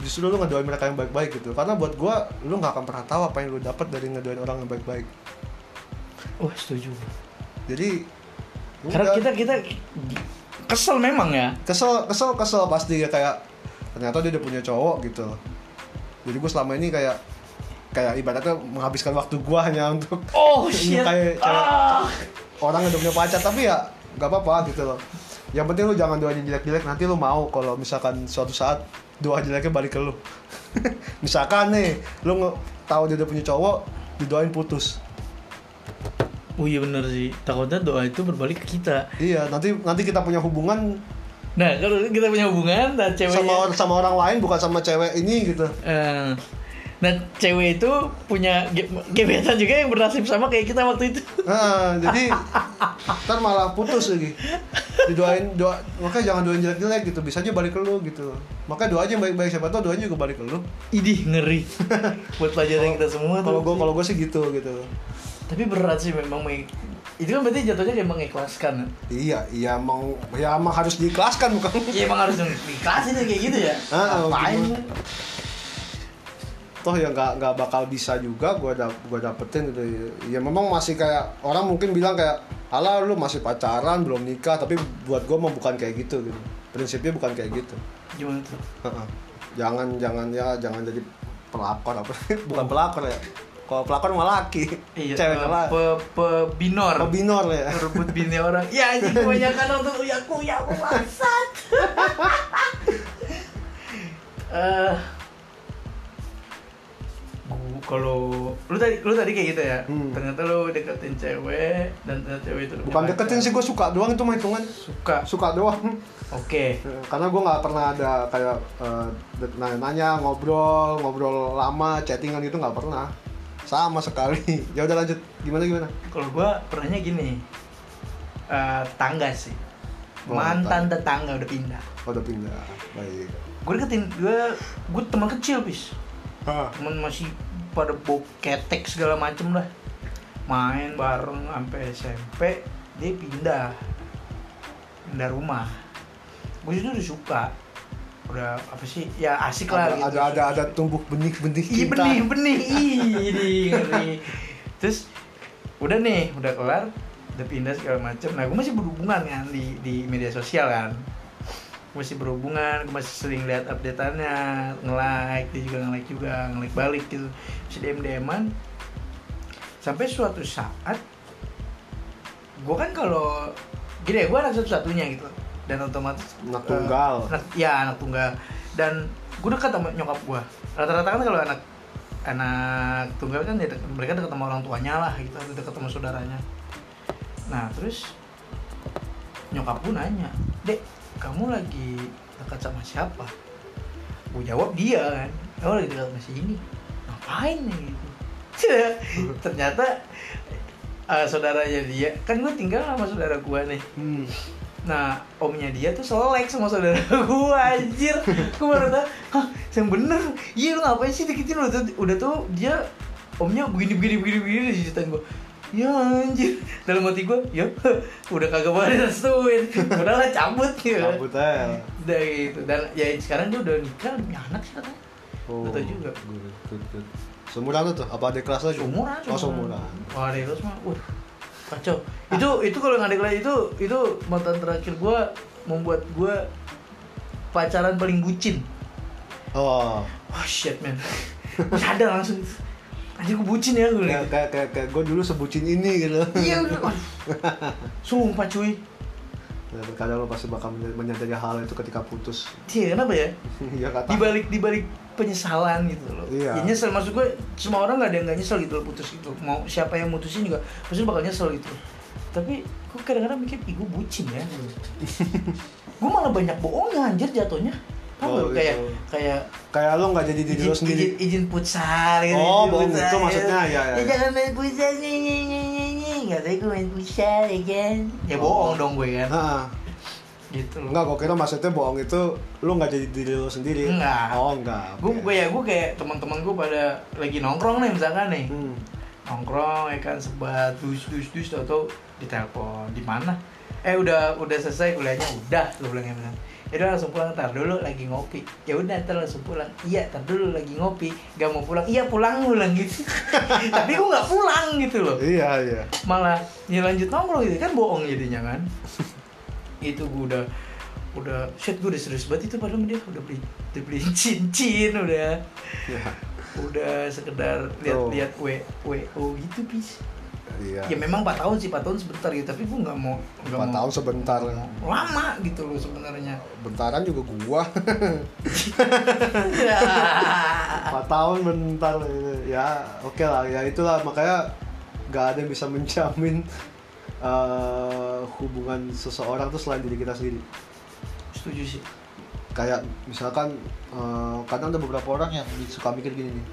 A: justru lu ngedoain mereka yang baik-baik gitu karena buat gue lu nggak akan pernah tahu apa yang lu dapat dari ngedoain orang yang baik-baik
B: Wah oh, setuju.
A: jadi
B: Karena
A: udah.
B: kita kita kesel memang ya.
A: kesel kesel kesel pasti ya kayak ternyata dia udah punya cowok gitu jadi gue selama ini kayak kayak ibaratnya menghabiskan waktu gue hanya untuk
B: Oh shit.
A: Kayak cewek.
B: Ah.
A: orang yang udah punya pacar tapi ya nggak apa-apa gitu loh yang penting lu jangan doain yang jelek-jelek nanti lu mau kalau misalkan suatu saat doa jeleknya balik ke lu misalkan nih lu nge- tahu dia udah punya cowok didoain putus
B: Oh iya bener sih. Takutnya doa itu berbalik ke kita.
A: iya nanti nanti kita punya hubungan
B: Nah kalau kita punya hubungan, nah cewek.
A: sama or- sama orang lain bukan sama cewek ini gitu
B: Eh, nah cewek itu punya ge- gebetan juga yang bernasib sama kayak kita waktu itu.
A: Nah, jadi ntar malah putus lagi. Didoain doa, makanya jangan doain jelek-jelek gitu. Bisa aja balik ke lu gitu. Makanya doa aja yang baik-baik siapa tau doanya juga balik ke lu.
B: Idih ngeri. Buat pelajaran kita semua.
A: Kalau
B: tuh.
A: gua kalau gua sih gitu gitu.
B: Tapi berat sih memang meng- itu kan berarti jatuhnya kayak mengikhlaskan.
A: Iya, iya emang ya emang harus diikhlaskan bukan?
B: Iya emang harus diikhlasin ya kayak gitu ya.
A: Ah,
B: Ngapain?
A: bener. Toh ya nggak nggak bakal bisa juga gua dap, gua dapetin gitu. Ya memang masih kayak orang mungkin bilang kayak ala lu masih pacaran belum nikah tapi buat gua mah bukan kayak gitu gitu. Prinsipnya bukan kayak gitu.
B: Gimana tuh?
A: Heeh. jangan jangan ya jangan jadi pelakor apa bukan pelakor ya kalau pelakor malah laki
B: Iya,
A: cewek
B: eh,
A: malah
B: pe, pe binor.
A: binor ya
B: Merebut bini orang. Ya anjing kebanyakan untuk ya aku ya aku bangsat. Eh gua- kalau lu tadi lu tadi kayak gitu ya
A: Hmm.
B: ternyata lu deketin cewek dan ternyata cewek itu
A: bukan deketin
B: iya.
A: sih gue suka doang itu mah hitungan
B: suka oke
A: suka doang Eh, karena gue nggak pernah ada kayak eh, de- nanya-nanya ngobrol ngobrol lama chattingan gitu nggak pernah sama sekali ya udah lanjut gimana gimana
B: Kalau gua pernahnya gini, eh, tetangga sih,
A: Oh,
B: mantan tetangga udah pindah.
A: oh, udah pindah baik
B: Gue deketin, gue gue teman kecil bis,
A: Hah.
B: teman masih pada boketek segala macem lah, main bareng sampai SMP, dia pindah, pindah rumah. Gue itu udah suka, udah apa sih, ya asik
A: ada,
B: lah. gitu.
A: ada ada ada tumbuh benih-benih
B: Ih
A: cinta
B: benih benih ih ini ngeri. Terus udah nih udah kelar udah pindah segala macam. Nah gue masih berhubungan kan di di media sosial kan. Gua masih berhubungan, gue masih sering lihat updateannya, nge-like, dia juga nge-like juga, nge-like balik gitu, masih dm dman Sampai suatu saat, gue kan kalau gini ya, gue anak satu-satunya gitu, dan otomatis
A: anak
B: eh,
A: tunggal
B: anak ya anak tunggal dan gue dekat sama nyokap gue rata-rata kan kalau anak anak tunggal kan ya dekat, mereka dekat sama orang tuanya lah gitu atau dekat sama saudaranya nah terus nyokap gue nanya dek kamu lagi dekat sama "Oh, siapa gue jawab dia kan kamu lagi dekat sama si ini ngapain nih gitu ternyata eh, saudaranya dia kan gue tinggal sama saudara gua nih
A: Hmm.
B: nah omnya dia tuh selek sama saudara gua anjir gue baru tau hah yang bener iya lu ngapain sih dikitin udah tuh, udah tuh dia omnya begini begini begini begini di ceritain gue ya anjir dalam hati gue ya udah kagak boleh restuin udah lah cabut gitu
A: Cabut eh. aja.
B: udah gitu dan ya sekarang dia udah nikah udah punya anak sih katanya Nggak tahu juga.
A: Oh, Good, good, good. Seumuran lu tuh? Apa adik kelas lu?
B: seumuran
A: Oh, seumuran.
B: wah ada terus mah uh kacau itu itu kalau yang ada kelas itu itu mantan terakhir gue membuat gue pacaran paling bucin
A: Oh.
B: oh shit man Gua sadar langsung aja gue bucin ya gue
A: Kayak kayak kayak, kayak gue dulu sebucin ini gitu.
B: iya udah waduh. sumpah cuy
A: Ya, Kadang lo pasti bakal menya- menyadari hal itu ketika putus.
B: Iya kenapa ya
A: Iya kata.
B: di balik di balik penyesalan gitu loh.
A: Iya.
B: Ya nyesel maksud gue semua orang nggak ada yang nggak nyesel gitu loh putus gitu. Mau siapa yang mutusin juga pasti bakal nyesel gitu. Tapi gue kadang-kadang mikir, ih gue bucin ya. gue malah banyak bohongnya anjir jatuhnya.
A: Oh,
B: Tau nggak?
A: gitu.
B: kayak kayak
A: Kayak lo nggak jadi diri lo sendiri.
B: izin, izin futsal gitu.
A: Oh, bohong.
B: izin futsal, gitu. "Eh,
A: Itu maksudnya, ya, ya, ya.
B: jangan main futsal nih nih nih nih nih. Gak tau gue main futsal ya kan. Ya bohong
A: Oh.
B: dong gue kan.
A: Heeh.
B: Gitu loh.
A: Enggak, gue kira maksudnya bohong itu lu nggak jadi diri lu sendiri.
B: Nggak.
A: Oh, enggak.
B: Gue
A: Oke.
B: gue ya gue kayak teman-teman gue pada lagi nongkrong nih misalkan nih.
A: Hmm.
B: nongkrong ya kan sebat dus dus dus tau tau ditelepon di mana eh udah udah selesai kuliahnya udah lu bilang ya bilang ya udah langsung pulang ntar dulu lagi ngopi ya udah ntar langsung pulang iya ntar dulu lagi ngopi gak mau pulang iya pulang pulang gitu tapi gua nggak pulang gitu loh
A: Iya, iya.
B: malah ya lanjut nongkrong gitu kan bohong jadinya kan itu gue udah udah shit gue udah serius banget itu padahal dia udah beli udah beli cincin udah
A: Iya.
B: udah sekedar lihat-lihat w wo gitu bis
A: Iya.
B: ya memang 4 tahun sih 4 tahun sebentar gitu tapi gue nggak mau nggak
A: Empat
B: mau-
A: tahun sebentar.
B: lama gitu loh sebenarnya
A: Bentaran juga gua.
B: Ya.
A: Empat tahun bentar. Ya, oke lah. Ya itulah makanya nggak ada yang bisa menjamin eh, hubungan seseorang tuh selain diri kita sendiri.
B: setuju sih
A: kayak misalkan eh, kadang ada beberapa orang yang bi- suka mikir gini nih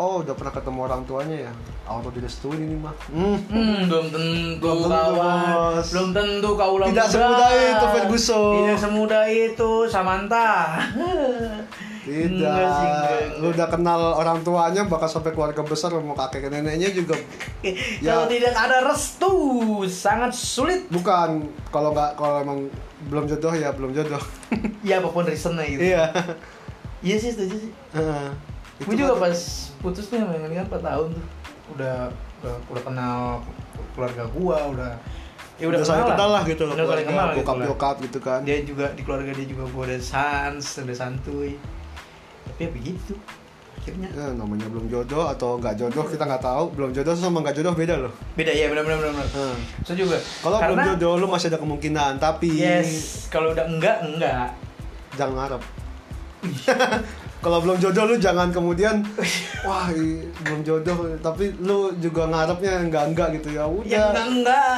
A: oh udah pernah ketemu orang tuanya ya auto direstuin ini mah Hmm,
B: Hmm, belum tentu
A: Belum tentu,
B: kawan,
A: Bos.
B: belum tentu kau ulang
A: Tidak
B: muda.
A: semudah itu, Ferguson.
B: Tidak semudah itu, Samantha.
A: tidak
B: Enggak sih, enggak, enggak.
A: lu udah kenal orang tuanya bakal sampai keluarga besar mau kakek neneknya juga Ya.
B: Kalau tidak ada restu, sangat sulit.
A: bukan kalau nggak kalau emang belum jodoh ya belum jodoh
B: Ya apapun reasonnya gitu.
A: iya
B: Iya sih setuju sih.
A: Heeh.
B: Gue juga pas putus nih main kan 4 tahun tuh udah udah, udah kenal keluarga gua udah ya
A: udah, saling
B: kenalan.
A: kenal lah gitu loh
B: udah saling kenal
A: keluarga
B: gitu
A: bokap
B: lah.
A: nyokap gitu kan
B: dia juga di keluarga dia juga gua udah sans udah santuy tapi ya begitu akhirnya
A: Ya, namanya belum jodoh atau nggak jodoh kita nggak tahu belum jodoh sama nggak jodoh beda loh
B: beda ya benar benar benar benar.
A: Heeh.
B: so juga
A: Kalau belum
B: karena
A: jodoh lu masih ada kemungkinan, tapi
B: yes kalau udah enggak enggak
A: jangan ngarep. Kalau belum jodoh lu jangan kemudian wah i- belum jodoh tapi lu juga ngarepnya enggak enggak gitu ya
B: ya enggak
A: udah
B: enggak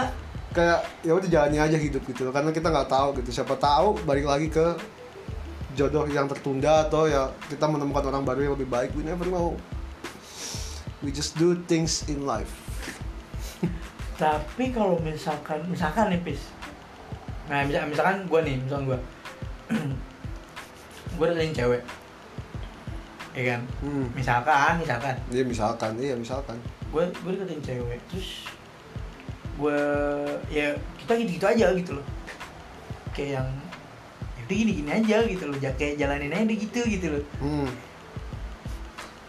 A: kayak ya udah jalani aja hidup gitu loh. karena kita nggak tahu gitu siapa tahu balik lagi ke jodoh yang tertunda atau ya kita menemukan orang baru yang lebih baik we never know we just do things in life
B: tapi kalau misalkan misalkan nih pis nah misalkan, misalkan gue nih misalkan gue gue deketin cewek ya kan
A: hmm.
B: misalkan misalkan
A: ya misalkan iya misalkan
B: gue gue deketin cewek terus gue ya kita gitu gitu aja gitu loh kayak yang ya udah gini gini aja gitu loh ja- kayak jalanin aja deh gitu gitu loh
A: hmm.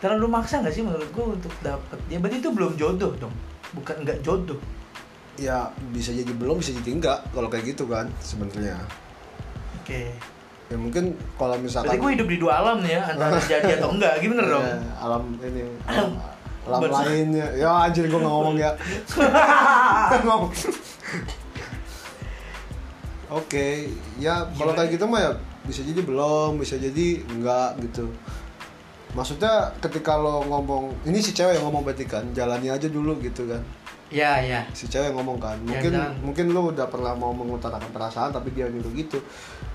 B: terlalu maksa nggak sih menurut gue untuk dapet ya berarti itu belum jodoh dong bukan nggak jodoh
A: ya bisa jadi belum bisa jadi enggak kalau kayak gitu kan sebenarnya
B: oke
A: ya mungkin kalau misalkan
B: berarti gue hidup di dua alam nih ya antara jadi atau enggak gitu bener dong
A: Ya, alam ini alam,
B: Alam.
A: alam
B: Barusan.
A: lainnya ya anjir gue nggak ngomong ya Ngomong. oke ya kalau
B: Gimana?
A: kayak gitu mah ya bisa jadi belum bisa jadi enggak gitu maksudnya ketika lo ngomong ini si cewek yang ngomong berarti kan jalani aja dulu gitu kan
B: ya ya
A: si cewek ngomong kan
B: Ya,
A: mungkin
B: jangan.
A: mungkin lu udah pernah mau mengutarakan perasaan tapi dia nyuruh gitu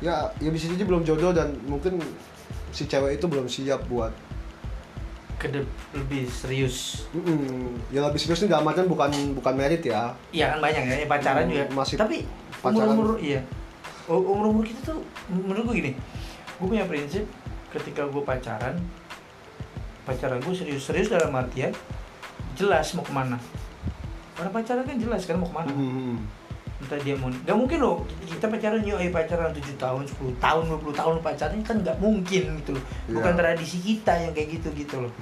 A: ya ya bisa jadi belum jodoh dan mungkin si cewek itu belum siap buat
B: ke de- lebih serius
A: Mm-mm. Ya lebih serius nih dalam artian bukan bukan merit ya.
B: iya kan banyak ya pacaran
A: Hmm,
B: juga
A: masih
B: tapi umur
A: pacaran.
B: umur iya umur umur kita tuh menurut gue gini gue punya prinsip ketika gue pacaran pacaran gue serius-serius dalam artian jelas mau kemana karena pacaran kan jelas kan mau kemana
A: Mm-mm.
B: entah dia mau nggak mungkin loh kita pacaran yuk ayo pacaran 7 tahun 10 tahun 20 tahun pacaran kan nggak mungkin gitu loh bukan
A: Iya.
B: tradisi kita yang kayak gitu gitu loh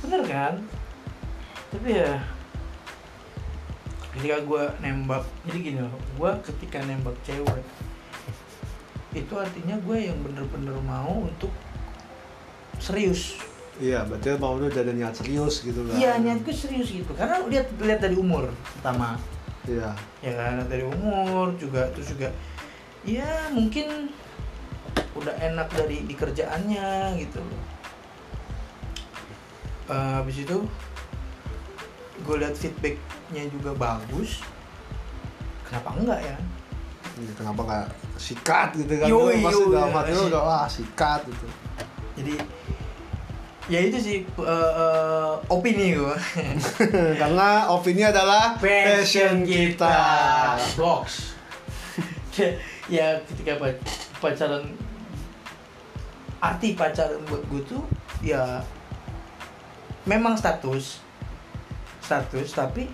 B: bener kan tapi ya ketika gue nembak jadi gini loh gue ketika nembak cewek itu artinya gue yang bener-bener mau untuk serius
A: Iya, berarti mau lu udah ada niat serius gitu kan.
B: iya niat gue serius gitu karena lihat lihat dari umur pertama
A: Iya.
B: ya kan dari umur juga terus juga ya mungkin udah enak dari di kerjaannya gitu loh Eh, habis itu gue lihat feedbacknya juga bagus kenapa enggak ya
A: Ini Kenapa nggak sikat gitu kan?
B: Yoi,
A: Lu pasti
B: yoi,
A: dalam hati lu
B: yoi.
A: udah wah sikat gitu.
B: jadi ya itu sih eh, eh, opini gue
A: Karena opini adalah passion kita.
B: box ya ketika pa- pacaran arti pacaran buat gue tuh ya memang status status tapi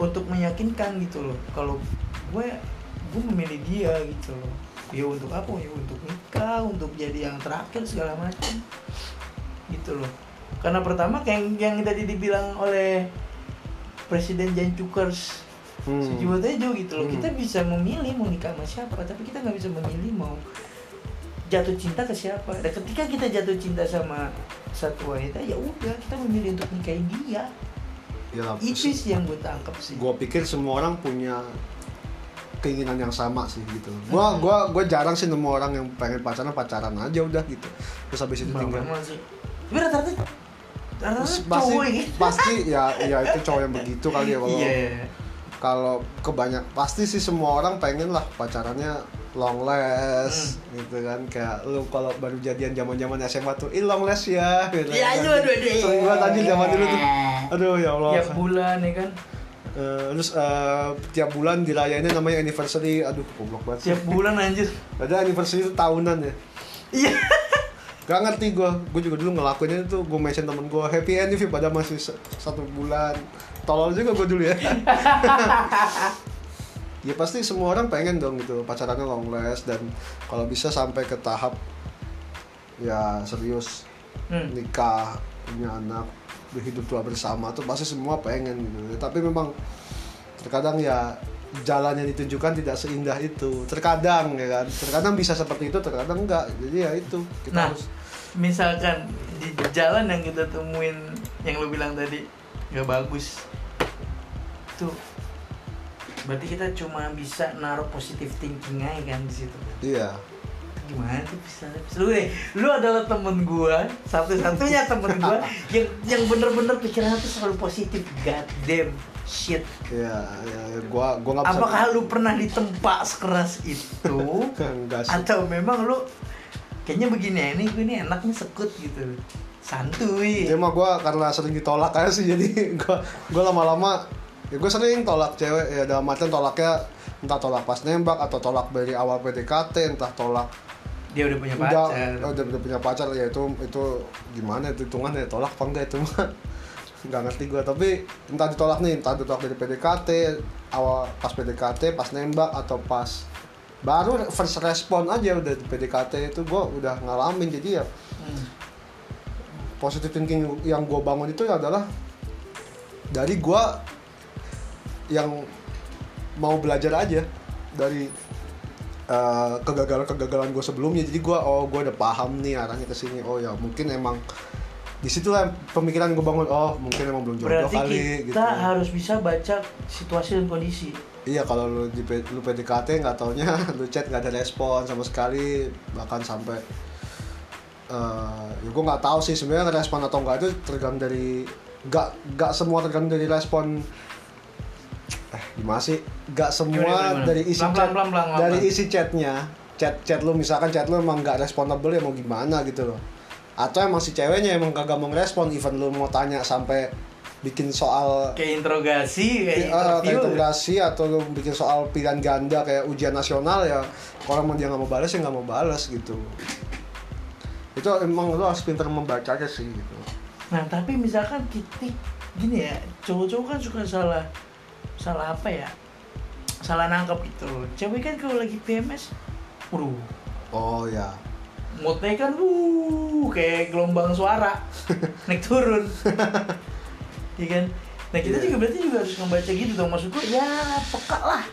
B: untuk meyakinkan gitu loh kalau gue gue memilih dia gitu loh ya untuk apa ya untuk nikah untuk jadi yang terakhir segala macam gitu loh karena pertama kayak yang tadi dibilang oleh presiden Jan Cukers
A: Hmm.
B: si Jiwo Tejo gitu loh
A: Hmm.
B: kita bisa memilih mau nikah sama siapa tapi kita nggak bisa memilih mau jatuh cinta ke siapa dan ketika kita jatuh cinta sama satu wanita ya udah kita memilih untuk nikahin dia
A: Ya,
B: itu sih yang gue tangkap sih
A: gue pikir semua orang punya keinginan yang sama sih gitu.
B: Iya.
A: Gua gua gua jarang sih nemu orang yang pengen pacaran pacaran aja udah gitu. Terus habis itu
B: Bang
A: tinggal.
B: Rahman sih tapi rata-rata rata-rata
A: Terus pasti
B: cowok ya
A: pasti ya ya itu cowok yang begitu kali ya kalau
B: iya iya.
A: kalau kebanyak pasti sih semua orang pengen lah pacarannya long last
B: Hmm.
A: gitu kan kayak lu kalau baru jadian zaman zaman SMA tuh ih long last ya gitu
B: Iya,
A: kan.
B: aduh, aduh, aduh.
A: sering banget anjir zaman dulu tuh aduh ya Allah
B: tiap bulan ya kan
A: Eh, terus eh, tiap bulan dirayainnya namanya anniversary aduh goblok banget sih
B: tiap bulan anjir
A: ada anniversary itu tahunan ya
B: iya
A: Gak ngerti gue, gue juga dulu ngelakuinnya itu gue mention temen gue happy anniversary pada masih se- satu bulan Tolol juga gue dulu ya Ya pasti semua orang pengen dong gitu pacarannya long last dan kalau bisa sampai ke tahap ya serius
B: Hmm.
A: nikah punya anak hidup tua bersama tuh pasti semua pengen gitu tapi memang terkadang ya jalan yang ditunjukkan tidak seindah itu terkadang ya kan terkadang bisa seperti itu terkadang enggak jadi ya itu kita
B: Nah.
A: harus
B: misalkan di jalan yang kita temuin yang lu bilang tadi nggak bagus tuh berarti kita cuma bisa naruh positive thinking aja kan di situ
A: iya
B: gimana tuh bisa bisa- lu deh lu adalah temen gua satu-satunya temen gua yang yang bener-bener pikirannya tuh selalu positif god damn shit
A: iya ya, ya, gua gua nggak bisa
B: apakah lu pernah ditempa sekeras itu
A: enggak sih
B: atau memang lu kayaknya begini ya ini gue ini enaknya sekut gitu santuy
A: dia mah gua karena sering ditolak aja sih jadi gua gua lama-lama ya gua sering tolak cewek ya dalam artian tolaknya entah tolak pas nembak atau tolak dari awal PDKT entah tolak
B: dia udah punya
A: udah,
B: pacar
A: oh, udah, udah punya pacar ya itu itu gimana itu hitungannya tolak apa enggak itu mah nggak ngerti gue tapi entah ditolak nih entah ditolak dari PDKT awal pas PDKT pas nembak atau pas baru first respon aja udah di PDKT itu gue udah ngalamin jadi ya
B: Hmm.
A: positive thinking yang gue bangun itu adalah dari gue yang mau belajar aja dari eh, kegagalan-kegagalan gue sebelumnya jadi gue oh gue udah paham nih arahnya ke sini oh ya mungkin emang disitulah pemikiran gue bangun oh mungkin emang belum jodoh
B: berarti
A: kali
B: kita
A: gitu
B: harus bisa baca situasi dan kondisi
A: iya kalau lu di P- lu PDKT nggak taunya lu chat nggak ada respon sama sekali bahkan sampai eh ya gue nggak tahu sih sebenarnya respon atau enggak itu tergantung dari nggak nggak semua tergantung dari respon eh gimana sih nggak semua
B: Gimana, gimana, gimana?
A: dari isi
B: Pelan-pelan,
A: chat
B: pelan-pelan, pelan-pelan.
A: dari isi chatnya chat chat lu misalkan chat lu emang nggak responsible ya mau gimana gitu loh atau emang si ceweknya emang kagak mau ngerespon even lu mau tanya sampai bikin soal
B: kayak interogasi kayak
A: Ah, kayak
B: interview
A: integrasi atau lu bikin soal pilihan ganda kayak ujian nasional ya orang mau dia nggak mau balas ya nggak mau balas gitu itu emang lu harus pintar membacanya sih gitu
B: nah tapi misalkan kita gini ya cowok-cowok kan suka salah salah apa ya salah nangkep itu cewek kan kalau lagi PMS waduh
A: oh ya
B: moodnya kan wuh kayak gelombang suara naik turun Iya kan nah kita
A: Iya.
B: juga berarti juga harus membaca gitu dong maksud gua ya peka lah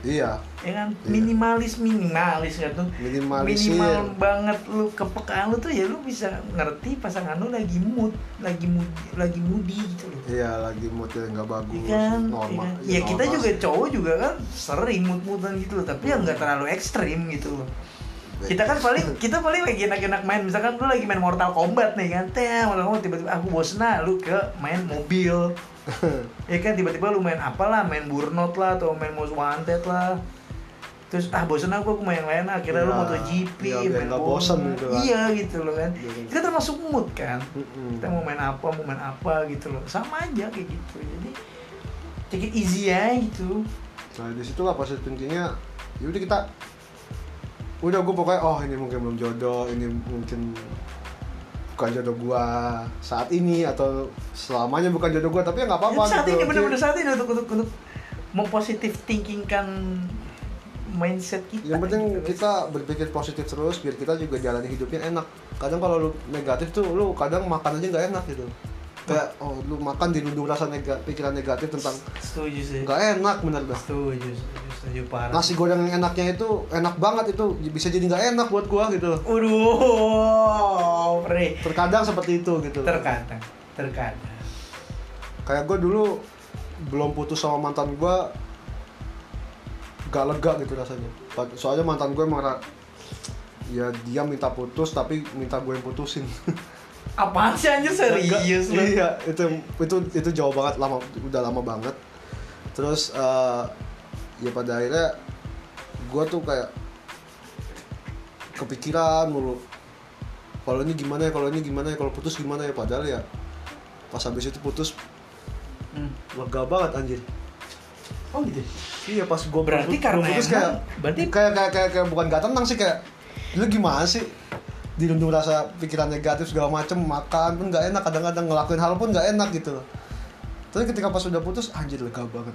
A: iya
B: ya kan
A: Iya.
B: minimalis minimalis kan tuh
A: Minimalisir.
B: minimal banget lu kepekaan lu tuh ya lu bisa ngerti pasangan lu lagi mood lagi mood lagi moody gitu loh
A: iya lagi moodnya nggak bagus
B: Iya kan, Iya
A: normal
B: kan? ya, kita
A: normal
B: juga
A: sih.
B: cowok juga kan sering mood-moodan gitu loh, tapi ya nggak terlalu ekstrim gitu loh. Kita kan paling kita paling lagi enak-enak main, misalkan lu lagi main Mortal Kombat nih kan, teh Mortal Kombat tiba-tiba aku bosen nah, lu ke main mobil, ya kan tiba-tiba lu main apalah, main Burnout lah atau main Most Wanted lah. Terus ah bosen aku aku main lain akhirnya lu
A: Iya,
B: MotoGP,
A: iya, biar
B: main
A: nggak
B: bola.
A: bosen gitu kan.
B: Iya gitu loh kan.
A: Iya, iya. Hmm.
B: Kita termasuk mood kan
A: Mm-mm.
B: kita mau main apa mau main apa gitu loh sama aja kayak gitu jadi take it easy aja gitu
A: Nah disitulah proses thinking-nya Yaudah Ya kita Udah gue pokoknya oh ini mungkin belum jodoh Ini mungkin bukan jodoh gua saat ini atau selamanya bukan jodoh gua tapi ya nggak apa-apa
B: Jadi saat
A: gitu.
B: ini bener-bener saat ini untuk untuk untuk mempositif thinking kan mindset kita
A: yang penting
B: gitu.
A: kita berpikir positif terus biar kita juga jalani hidupnya enak kadang kalau lu negatif tuh lu kadang makan aja nggak enak gitu kayak oh lu makan dilundung rasa nega- pikiran negatif tentang
B: setuju sih
A: nggak enak bener dah
B: setuju setuju setuju parah
A: nasi goreng yang enaknya itu enak banget itu bisa jadi nggak enak buat gua gitu
B: waduh pre
A: terkadang seperti itu gitu
B: terkadang terkadang
A: kayak gue dulu belum putus sama mantan gue gak lega gitu rasanya Pa- soalnya mantan gue emang ra- ya dia minta putus tapi minta gue yang putusin
B: apaan sih anjir serius
A: Nggak-
B: lu
A: iya itu itu itu jauh banget lama udah lama banget terus eh, ya pada akhirnya gue tuh kayak kepikiran mulu kalau ini gimana ya kalau ini gimana ya kalau putus gimana ya padahal ya pas habis itu putus
B: Hmm.
A: lega banget anjir
B: oh gitu
A: Iya pas gue
B: Berarti karena
A: putus
B: emang-
A: kayak,
B: berarti-
A: kayak kayak kayak kayak bukan gak tenang sih kayak lu gimana sih dirundung rasa pikiran negatif segala macem makan pun nggak enak kadang-kadang ngelakuin hal pun nggak enak gitu loh tapi ketika pas udah putus anjir lega banget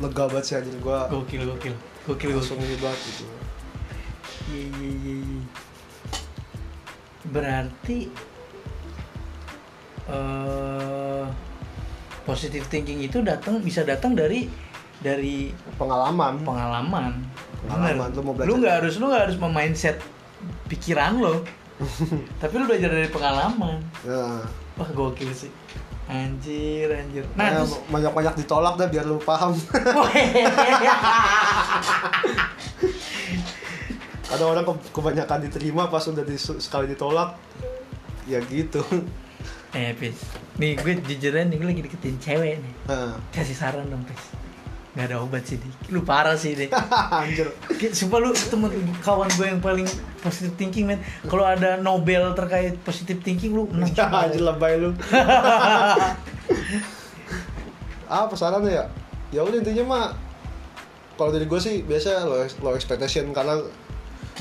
A: lega banget sih anjir gue
B: gokil gokil gokil gokil
A: langsung ini banget gitu
B: Iya, iya, iya, iya. Berarti eh positive thinking itu datang bisa datang dari dari
A: pengalaman
B: pengalaman.
A: Hmm. Pengalaman, lu
B: Bener.
A: mau belajar.
B: Lu nggak harus lu nggak harus memindset pikiran lo. Tapi lu belajar dari pengalaman.
A: ya.
B: Wah, gokil sih. Anjir, anjir.
A: Makanya
B: Nah, terus
A: banyak-banyak ditolak deh biar lu paham ada orang ke- kebanyakan diterima pas udah di, sekali ditolak ya gitu
B: Eh, Pis. Nih, gue jujur aja nih, gue lagi deketin cewek nih.
A: nah.
B: kasih saran dong Pes nggak ada obat sih Dik. lu parah sih deh
A: anjir
B: Sumpah lu temen kawan gue yang paling positive thinking men kalau ada Nobel terkait positive thinking lu menang
A: Ya, anjir lebay lu. Apa sarannya ya? Ya udah intinya mah kalau dari gue sih biasa low, low expectation karena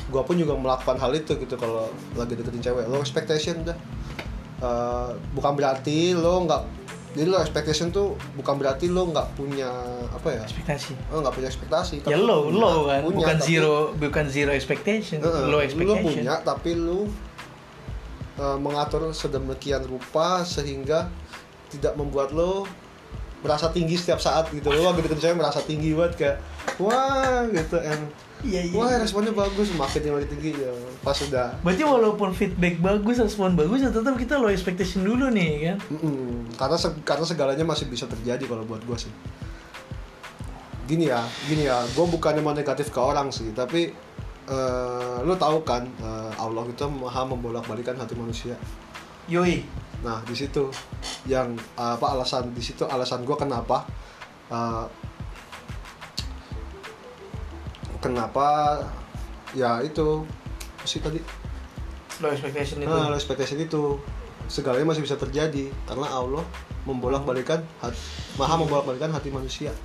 A: gue pun juga melakukan hal itu gitu kalau lagi deketin cewek low expectation dah Eh, bukan berarti lo nggak jadi low expectation tuh bukan berarti lo nggak punya apa ya
B: ekspektasi
A: lo nggak punya ekspektasi
B: ya
A: tapi
B: low
A: punya-
B: low kan
A: punya,
B: bukan
A: tapi-
B: zero bukan zero expectation
A: Heeh,
B: low
A: Lu
B: expectation
A: punya tapi lu uh, mengatur sedemikian rupa sehingga tidak membuat lu merasa tinggi setiap saat gitu. Lu lagi deketin cewek merasa tinggi banget kayak wah gitu and
B: iya iya
A: wah responnya bagus makin tinggi makin tinggi ya. Pas udah
B: berarti walaupun feedback bagus respon bagus ya tetap kita low expectation dulu nih kan
A: Mm-mm. karena seg- karena segalanya masih bisa terjadi kalau buat gue sih gini ya gini ya gue bukannya mau negatif ke orang sih tapi eh, lu tahu kan eh, Allah itu maha membolak balikan hati manusia
B: yoi
A: Nah, di situ yang uh, apa alasan di situ alasan gua kenapa uh, kenapa ya itu apa sih tadi
B: low expectation itu
A: Nah, low expectation itu segalanya masih bisa terjadi karena Allah membolak-balikan hati, maha membolak-balikan hati manusia.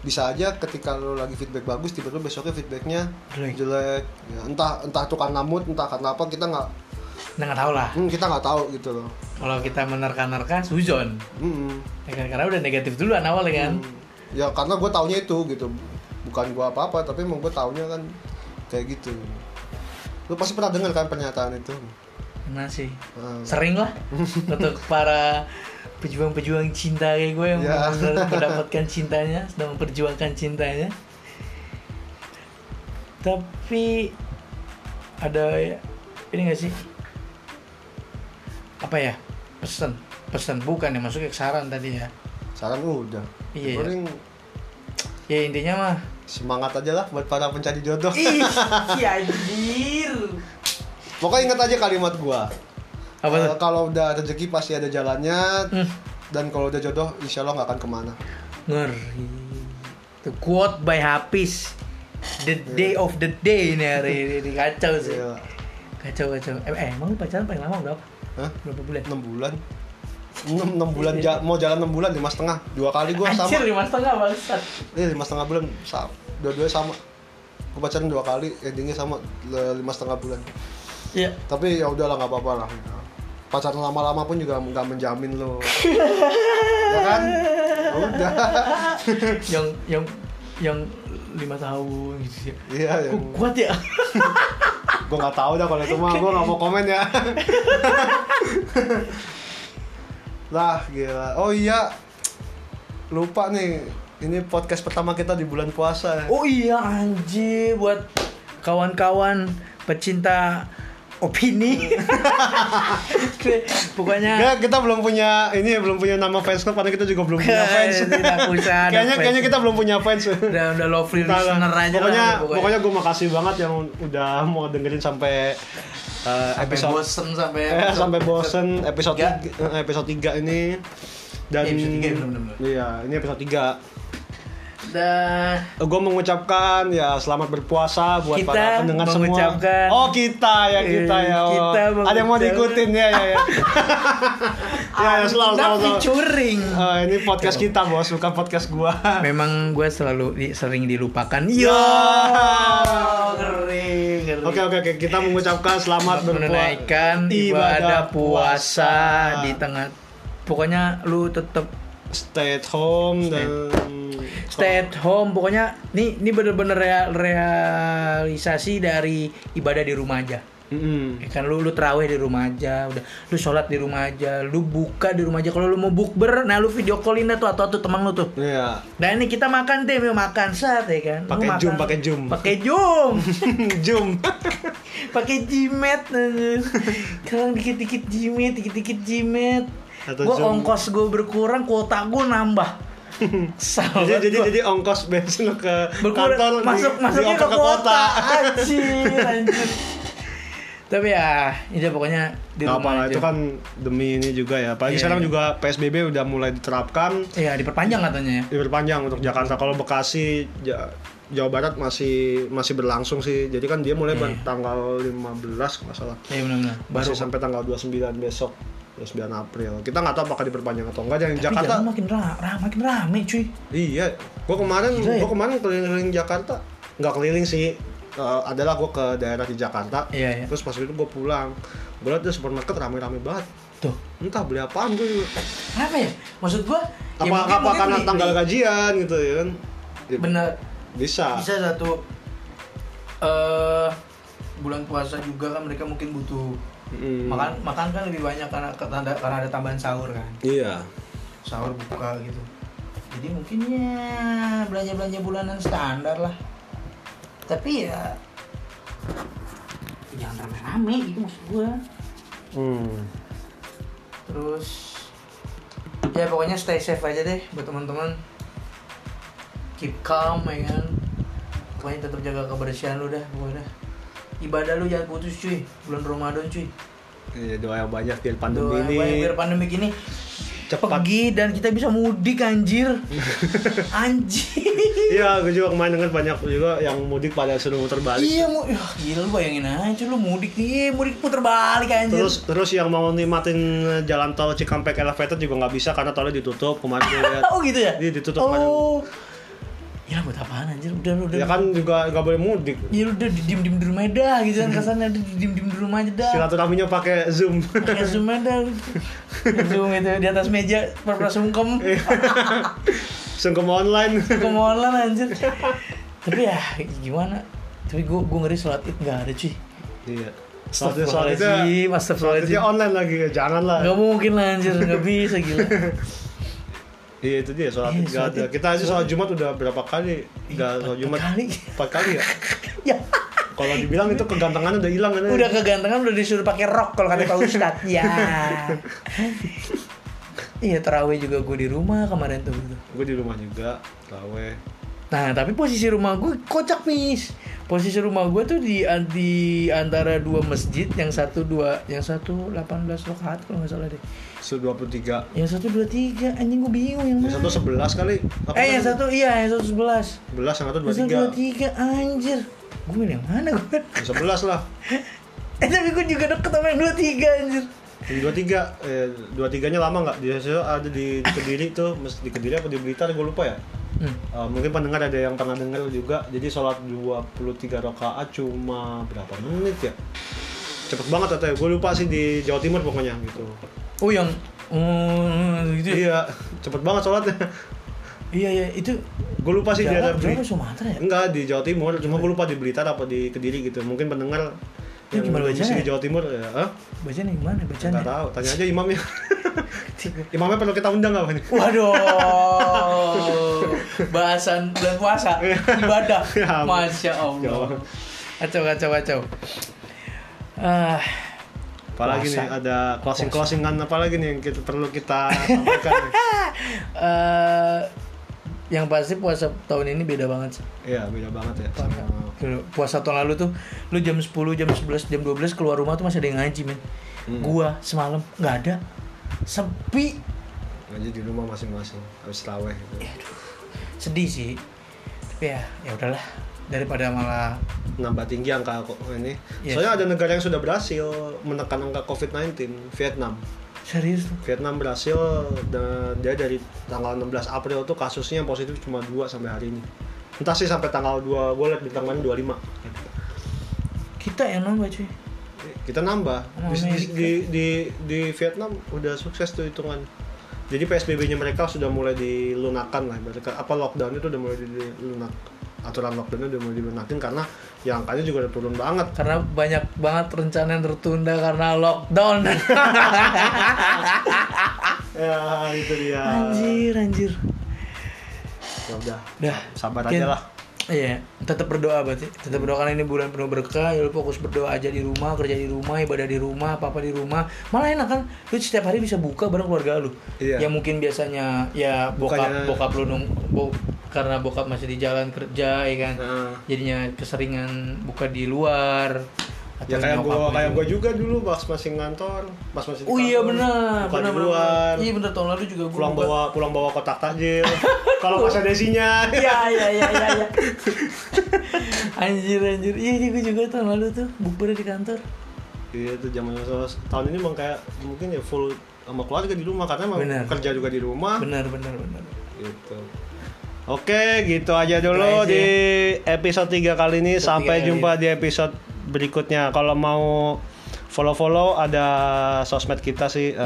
A: Bisa aja ketika lo lagi feedback bagus, tiba-tiba besoknya feedbacknya
B: Jelek.
A: jelek. Ya, entah entah itu karena mood, entah karena apa kita nggak
B: kita Nah, nggak tahu lah
A: hmm, kita nggak tahu gitu loh. Hmm.
B: kalau kita menerka-nerka suzon
A: Mm-mm.
B: ya kan? karena udah negatif duluan awal ya kan
A: Ya karena gue taunya itu gitu, bukan gue apa-apa, tapi emang gue taunya kan kayak gitu. Lo pasti pernah dengar kan pernyataan itu?
B: Nah sih
A: Nah,
B: sering lah untuk para pejuang-pejuang cinta kayak gue yang
A: Ya.
B: benar-benar mendapatkan cintanya sedang memperjuangkan cintanya tapi ada ya- ini gak sih apa ya pesan pesan bukan ya masuknya ke saran tadi ya
A: saran udah.
B: Iya, iya.
A: Paling
B: ya intinya mah
A: semangat aja lah buat para pencari jodoh.
B: ih si anjir
A: Pokoknya ingat aja kalimat gua.
B: apa
A: Eh,
B: tuh?
A: kalau udah rezeki pasti ada jalannya
B: Hmm,
A: dan kalau udah jodoh insya Allah nggak akan kemana.
B: ngeri The quote by Hafiz the day of the day ini hari ini kacau sih
A: Iya.
B: Kacau kacau. Eh, eh, emang lu pacaran paling lama berapa?
A: Hah?
B: Berapa bulan?
A: 6 bulan. 6, bulan ja- mau jalan 6 bulan lima setengah dua kali gua
B: Iya. Anjir
A: sama
B: lima setengah bangsat.
A: Iya, lima setengah bulan sama dua-dua sama gue pacaran dua kali endingnya sama le- lima setengah bulan
B: Iya.
A: tapi ya udahlah nggak apa-apa lah pacaran lama-lama pun juga nggak menjamin lo ya kan Ya udah
B: Yang yang yang lima tahun gitu ya.
A: iya ya
B: Kok kuat ya?
A: gue nggak tahu dah kalau itu mah gue nggak mau komen ya lah gila oh iya lupa nih ini podcast pertama kita di bulan puasa ya.
B: Oh iya anjir buat kawan-kawan pecinta opini. Pokoknya
A: Ya, kita belum punya ini ya, belum punya nama fans club karena kita juga belum punya fans.
B: Iya, Tidak usah ada
A: kayaknya
B: fans.
A: kayaknya kita belum punya fans.
B: udah udah lovely
A: Entah lah.
B: listener aja
A: pokoknya,
B: lah,
A: pokoknya gue makasih banget yang udah mau dengerin sampai eh,
B: sampai
A: episode
B: bosen sampai
A: Eh, sampai bosen episode
B: Tiga.
A: tiga- eh, episode 3 ini dan
B: Iya, episode tiga, bener, bener, bener.
A: Iya, ini episode 3.
B: Dah.
A: Gue mengucapkan ya selamat berpuasa buat
B: Kita
A: para pendengar
B: mengucapkan-
A: semua. Oh, kita ya kita
B: Eh,
A: ya. oh.
B: kita
A: Ada yang mau
B: mengucapkan-
A: diikutin ya ya ya. ya, ya selalu selalu.
B: Tapi
A: selalu.
B: curing.
A: Eh, ini podcast kita, Bos, bukan podcast gua.
B: Memang gue selalu di- sering dilupakan. Yo, Ya. ngeri, ngeri.
A: Oke oke oke, kita mengucapkan selamat berpuasa.
B: Menunaikan ibadah
A: ibadah
B: puasa
A: puasa.
B: di tengah. Pokoknya lu tetap
A: Stay at home dan
B: stay at home. Pokoknya nih ini bener-bener rea- realisasi dari ibadah di rumah aja.
A: Mm-mm.
B: Ya kan lu lu terawih di rumah aja, udah lu sholat di rumah aja, lu buka di rumah aja. Kalau lu mau bukber, nah lu video callin dah tuh atau tuh teman lu tuh.
A: Iya.
B: Nah ini kita makan deh, mau makan saat ya kan. Lu
A: Pakai
B: makan.
A: Zoom, pakai Zoom.
B: pakai jum,
A: Zoom.
B: pakai jimet. anjir. Sekarang dikit-dikit jimet, dikit-dikit jimet.
A: Atau
B: Gue
A: Zoom.
B: ongkos gue berkurang, kuota gue nambah.
A: jadi
B: Salah.
A: jadi jadi ongkos bensin lo ke
B: Oh, Berkurang,
A: kantor
B: masuk
A: di-
B: masuknya
A: diongkos
B: ke kota. Anjir, anjir. Tapi ya, ini pokoknya di
A: Nggak
B: rumah
A: apa-apa,
B: aja.
A: itu kan demi ini juga ya. Apalagi
B: Iya,
A: sekarang
B: iya.
A: juga PSBB udah mulai diterapkan
B: Iya, diperpanjang katanya ya.
A: diperpanjang untuk Jakarta. Kalau Bekasi Ja- Jawa Barat masih masih berlangsung sih. Jadi kan dia mulai ber- tanggal 15 kalau nggak salah.
B: Iya benar-benar. Iya, Baru.
A: Baru sampai tanggal 29 besok. 29 April. Kita nggak tahu apakah diperpanjang atau enggak. Yang
B: Tapi
A: Jakarta
B: jalan makin ra- ra- makin rame cuy.
A: Iya, gua kemarin
B: Gila ya?
A: gua kemarin keliling Jakarta, nggak keliling sih, Eh, adalah gua ke daerah di Jakarta.
B: Iya, iya.
A: Terus pas itu gua pulang, gua liat tuh supermarket rame-rame banget.
B: Tuh.
A: Entah beli apaan gua juga.
B: Apa ya? Maksud gua
A: Apa,
B: ya mungkin-
A: apa
B: mungkin
A: karena
B: beli-
A: tanggal gajian gitu ya kan? Ya,
B: bener
A: Bisa.
B: bisa satu eh bulan puasa juga kan mereka mungkin butuh
A: Mm.
B: makan makan kan lebih banyak karena karena ada, karena ada tambahan sahur kan
A: Iya.
B: sahur buka gitu jadi mungkin ya belanja belanja bulanan standar lah tapi ya jangan rame-rame gitu maksud gua
A: Hmm.
B: terus ya pokoknya stay safe aja deh buat teman-teman keep calm ya kan pokoknya tetap jaga kebersihan lu dah pokoknya dah. ibadah lu jangan putus cuy bulan Ramadan cuy
A: Iya, doa yang banyak biar pandemi
B: Doa
A: ini.
B: yang banyak biar pandemi gini
A: Cepat.
B: pergi dan kita bisa mudik anjir anjir
A: Iya, gue juga kemarin denger banyak juga yang mudik pada suruh muter balik.
B: iya mu Yah, gila lu bayangin aja lu mudik nih iya, mudik puter balik anjir
A: Terus terus yang mau nikmatin jalan tol Cikampek Elevated juga nggak bisa karena tolnya ditutup kemarin gue lihat.
B: oh gitu ya
A: Iya, ditutup
B: oh Gila buat apaan anjir udah lu udah
A: Ya kan juga nggak boleh mudik.
B: ya lu udah diem-diem di rumah aja dah gitu kan kesannya udah diem-diem di rumah aja dah
A: Silaturahminya pakai Zoom.
B: pakai zoom aja zoom gitu. itu di atas meja pura-pura sungkem
A: Sungkem online.
B: kemolan anjir tapi ya gimana tapi gue gue ngeri sholat id nggak ada cuy
A: Iya. Soalnya soalnya ya.
B: Astagfirullahaladzim, Iya.
A: itu
B: astagfirullahaladzim
A: online lagi janganlah.
B: Gak mungkin lah anjir, gak bisa gila
A: Iya itu dia sholat
B: Iya,
A: id nggak
B: sholat
A: ada.
B: id.
A: Kita aja sholat Jumat udah berapa kali? Udah sholat Jumat
B: Kali
A: empat kali ya.
B: Ya,
A: Kalau dibilang itu kegantengannya udah hilang kan?
B: udah kegantengan udah disuruh pakai rok kalau kata Pak Ustadz Ya Iya terawih juga gue di rumah kemarin tuh gitu.
A: Gue di rumah juga, tawe.
B: Nah tapi posisi rumah gue kocak mis Posisi rumah gue tuh di, di antara dua masjid Yang satu dua Yang satu 18 rokaat kalau nggak salah deh
A: Su 23.
B: Yang satu dua tiga anjing gue bingung yang
A: Yang
B: mana.
A: satu sebelas kali. Apa
B: eh yang
A: kan?
B: satu iya yang satu sebelas.
A: sebelas yang satu dua
B: Yang satu
A: tiga.
B: dua tiga anjir. Gue milih yang mana gue?
A: Yang sebelas lah.
B: Eh tapi gue juga deket sama yang dua tiga anjir.
A: Yang dua tiga, eh, dua tiganya lama nggak? Di situ ada di, di kediri tuh, mes- di kediri apa di blitar? Gue lupa ya.
B: Hmm.
A: Eh, mungkin pendengar ada yang pernah dengar juga. Jadi sholat 23 rakaat cuma berapa menit ya? Cepet banget atau gue lupa sih di Jawa Timur pokoknya gitu.
B: Oh yang oh gitu. ya?
A: Iya, cepet banget sholatnya.
B: Iya iya itu
A: Gue lupa sih di
B: Jawa,
A: daerah
B: Jawa
A: Bli-
B: Sumatera ya.
A: Enggak di Jawa Timur, cuma gue lupa di Blitar apa di Kediri gitu. Mungkin pendengar
B: Itu
A: yang
B: gimana
A: belum
B: bacanya?
A: di Jawa Timur ya, eh?
B: Bacanya yang mana bacanya?
A: Nggak tahu, tanya aja imamnya. imamnya perlu kita undang nggak? Bang?
B: Waduh, bahasan bulan puasa, ibadah,
A: Ya ampun.
B: masya
A: Ya
B: Allah,
A: ampun.
B: kacau kacau kacau. Ah,
A: Apalagi
B: Puasa.
A: nih ada closing closingan apalagi nih yang kita, perlu kita sampaikan. nih?
B: Ah. eh, yang pasti puasa tahun ini beda banget sih.
A: Iya beda banget ya. sama-
B: Dulu, Puasa tahun lalu tuh lu jam 10, jam 11, jam 12 keluar rumah tuh masih ada yang ngaji, men.
A: Hmm.
B: Gua semalam nggak ada. Sepi.
A: Ngaji di rumah masing-masing habis traweh gitu.
B: Iya. Sedih sih. Tapi ya, ya udahlah daripada malah
A: Nambah tinggi angka kok ini.
B: Iya.
A: Soalnya ada negara yang sudah berhasil menekan angka COVID-19, Vietnam.
B: serius tuh.
A: Vietnam berhasil da- dia dari tanggal 16 April tuh kasusnya yang positif cuma 2 sampai hari ini. Entah sih sampai tanggal 2, gue liat bintang mana 25.
B: kita yang nambah cuy.
A: Kita nambah. Di, di,
B: Amerika.
A: di- di- di Vietnam udah sukses tuh hitungan. Jadi PSBB-nya mereka sudah mulai dilunakan lah. Berarti apa lockdown itu udah mulai dilunak. Aturan lockdown udah mulai dilunakin karena yang angkanya juga udah turun banget.
B: Karena banyak banget rencana yang tertunda karena lockdown.
A: Ya itu dia.
B: anjir, anjir.
A: Ya udah.
B: Dah.
A: Sabar
B: Mungkin-
A: aja lah.
B: Iya, tetap berdoa berarti. Tetap berdoa karena ini bulan penuh berkah. Ya lu fokus berdoa aja di rumah, kerja di rumah, ibadah di rumah, apa-apa di rumah. Malah enak kan? Lu setiap hari bisa buka bareng keluarga lu.
A: Iya.
B: Ya mungkin biasanya ya bokap
A: Bukannya-
B: bokap lu nung bo- karena bokap masih di jalan kerja ya kan.
A: Nah.
B: Jadinya keseringan buka di luar.
A: Ya kayak gua
B: nyokap lu
A: kayak
B: juga.
A: gua juga dulu pas masih ngantor, pas masih di
B: Oh iya
A: kantor,
B: benar,
A: buka di
B: benar benar.
A: luar,
B: Iya benar tahun lalu juga gua
A: pulang
B: buka.
A: bawa pulang bawa kotak takjil. Kalau pas ada isinya.
B: Iya iya iya iya. iya. anjir anjir. Iya iya, gua juga tahun lalu tuh bukber di kantor.
A: Iya itu zaman tahun ini emang kayak mungkin ya full sama keluarga di rumah karena emang
B: Benar.
A: kerja juga di rumah.
B: Benar benar benar.
A: Gitu. Oke, gitu aja dulu
B: aja. ya.
A: di episode 3 kali ini.
B: Episode
A: Sampai
B: tiga kali
A: jumpa di episode berikutnya. Kalau mau follow-follow ada sosmed kita sih
B: Yoi.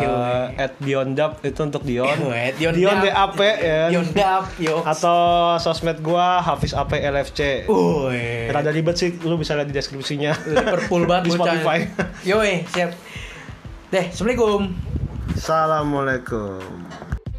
A: eh, at @biondap itu untuk Dion.
B: Eh,
A: Dion, DAP ya.
B: Dion Dap, yo.
A: Atau sosmed gua Hafiz AP LFC.
B: Uh. Uy.
A: Rada ribet sih, lu bisa lihat di deskripsinya.
B: Liverpool
A: Di
B: banget bocah.
A: Spotify.
B: Yo, eh, siap. Deh, Assalamualaikum.
A: Assalamualaikum.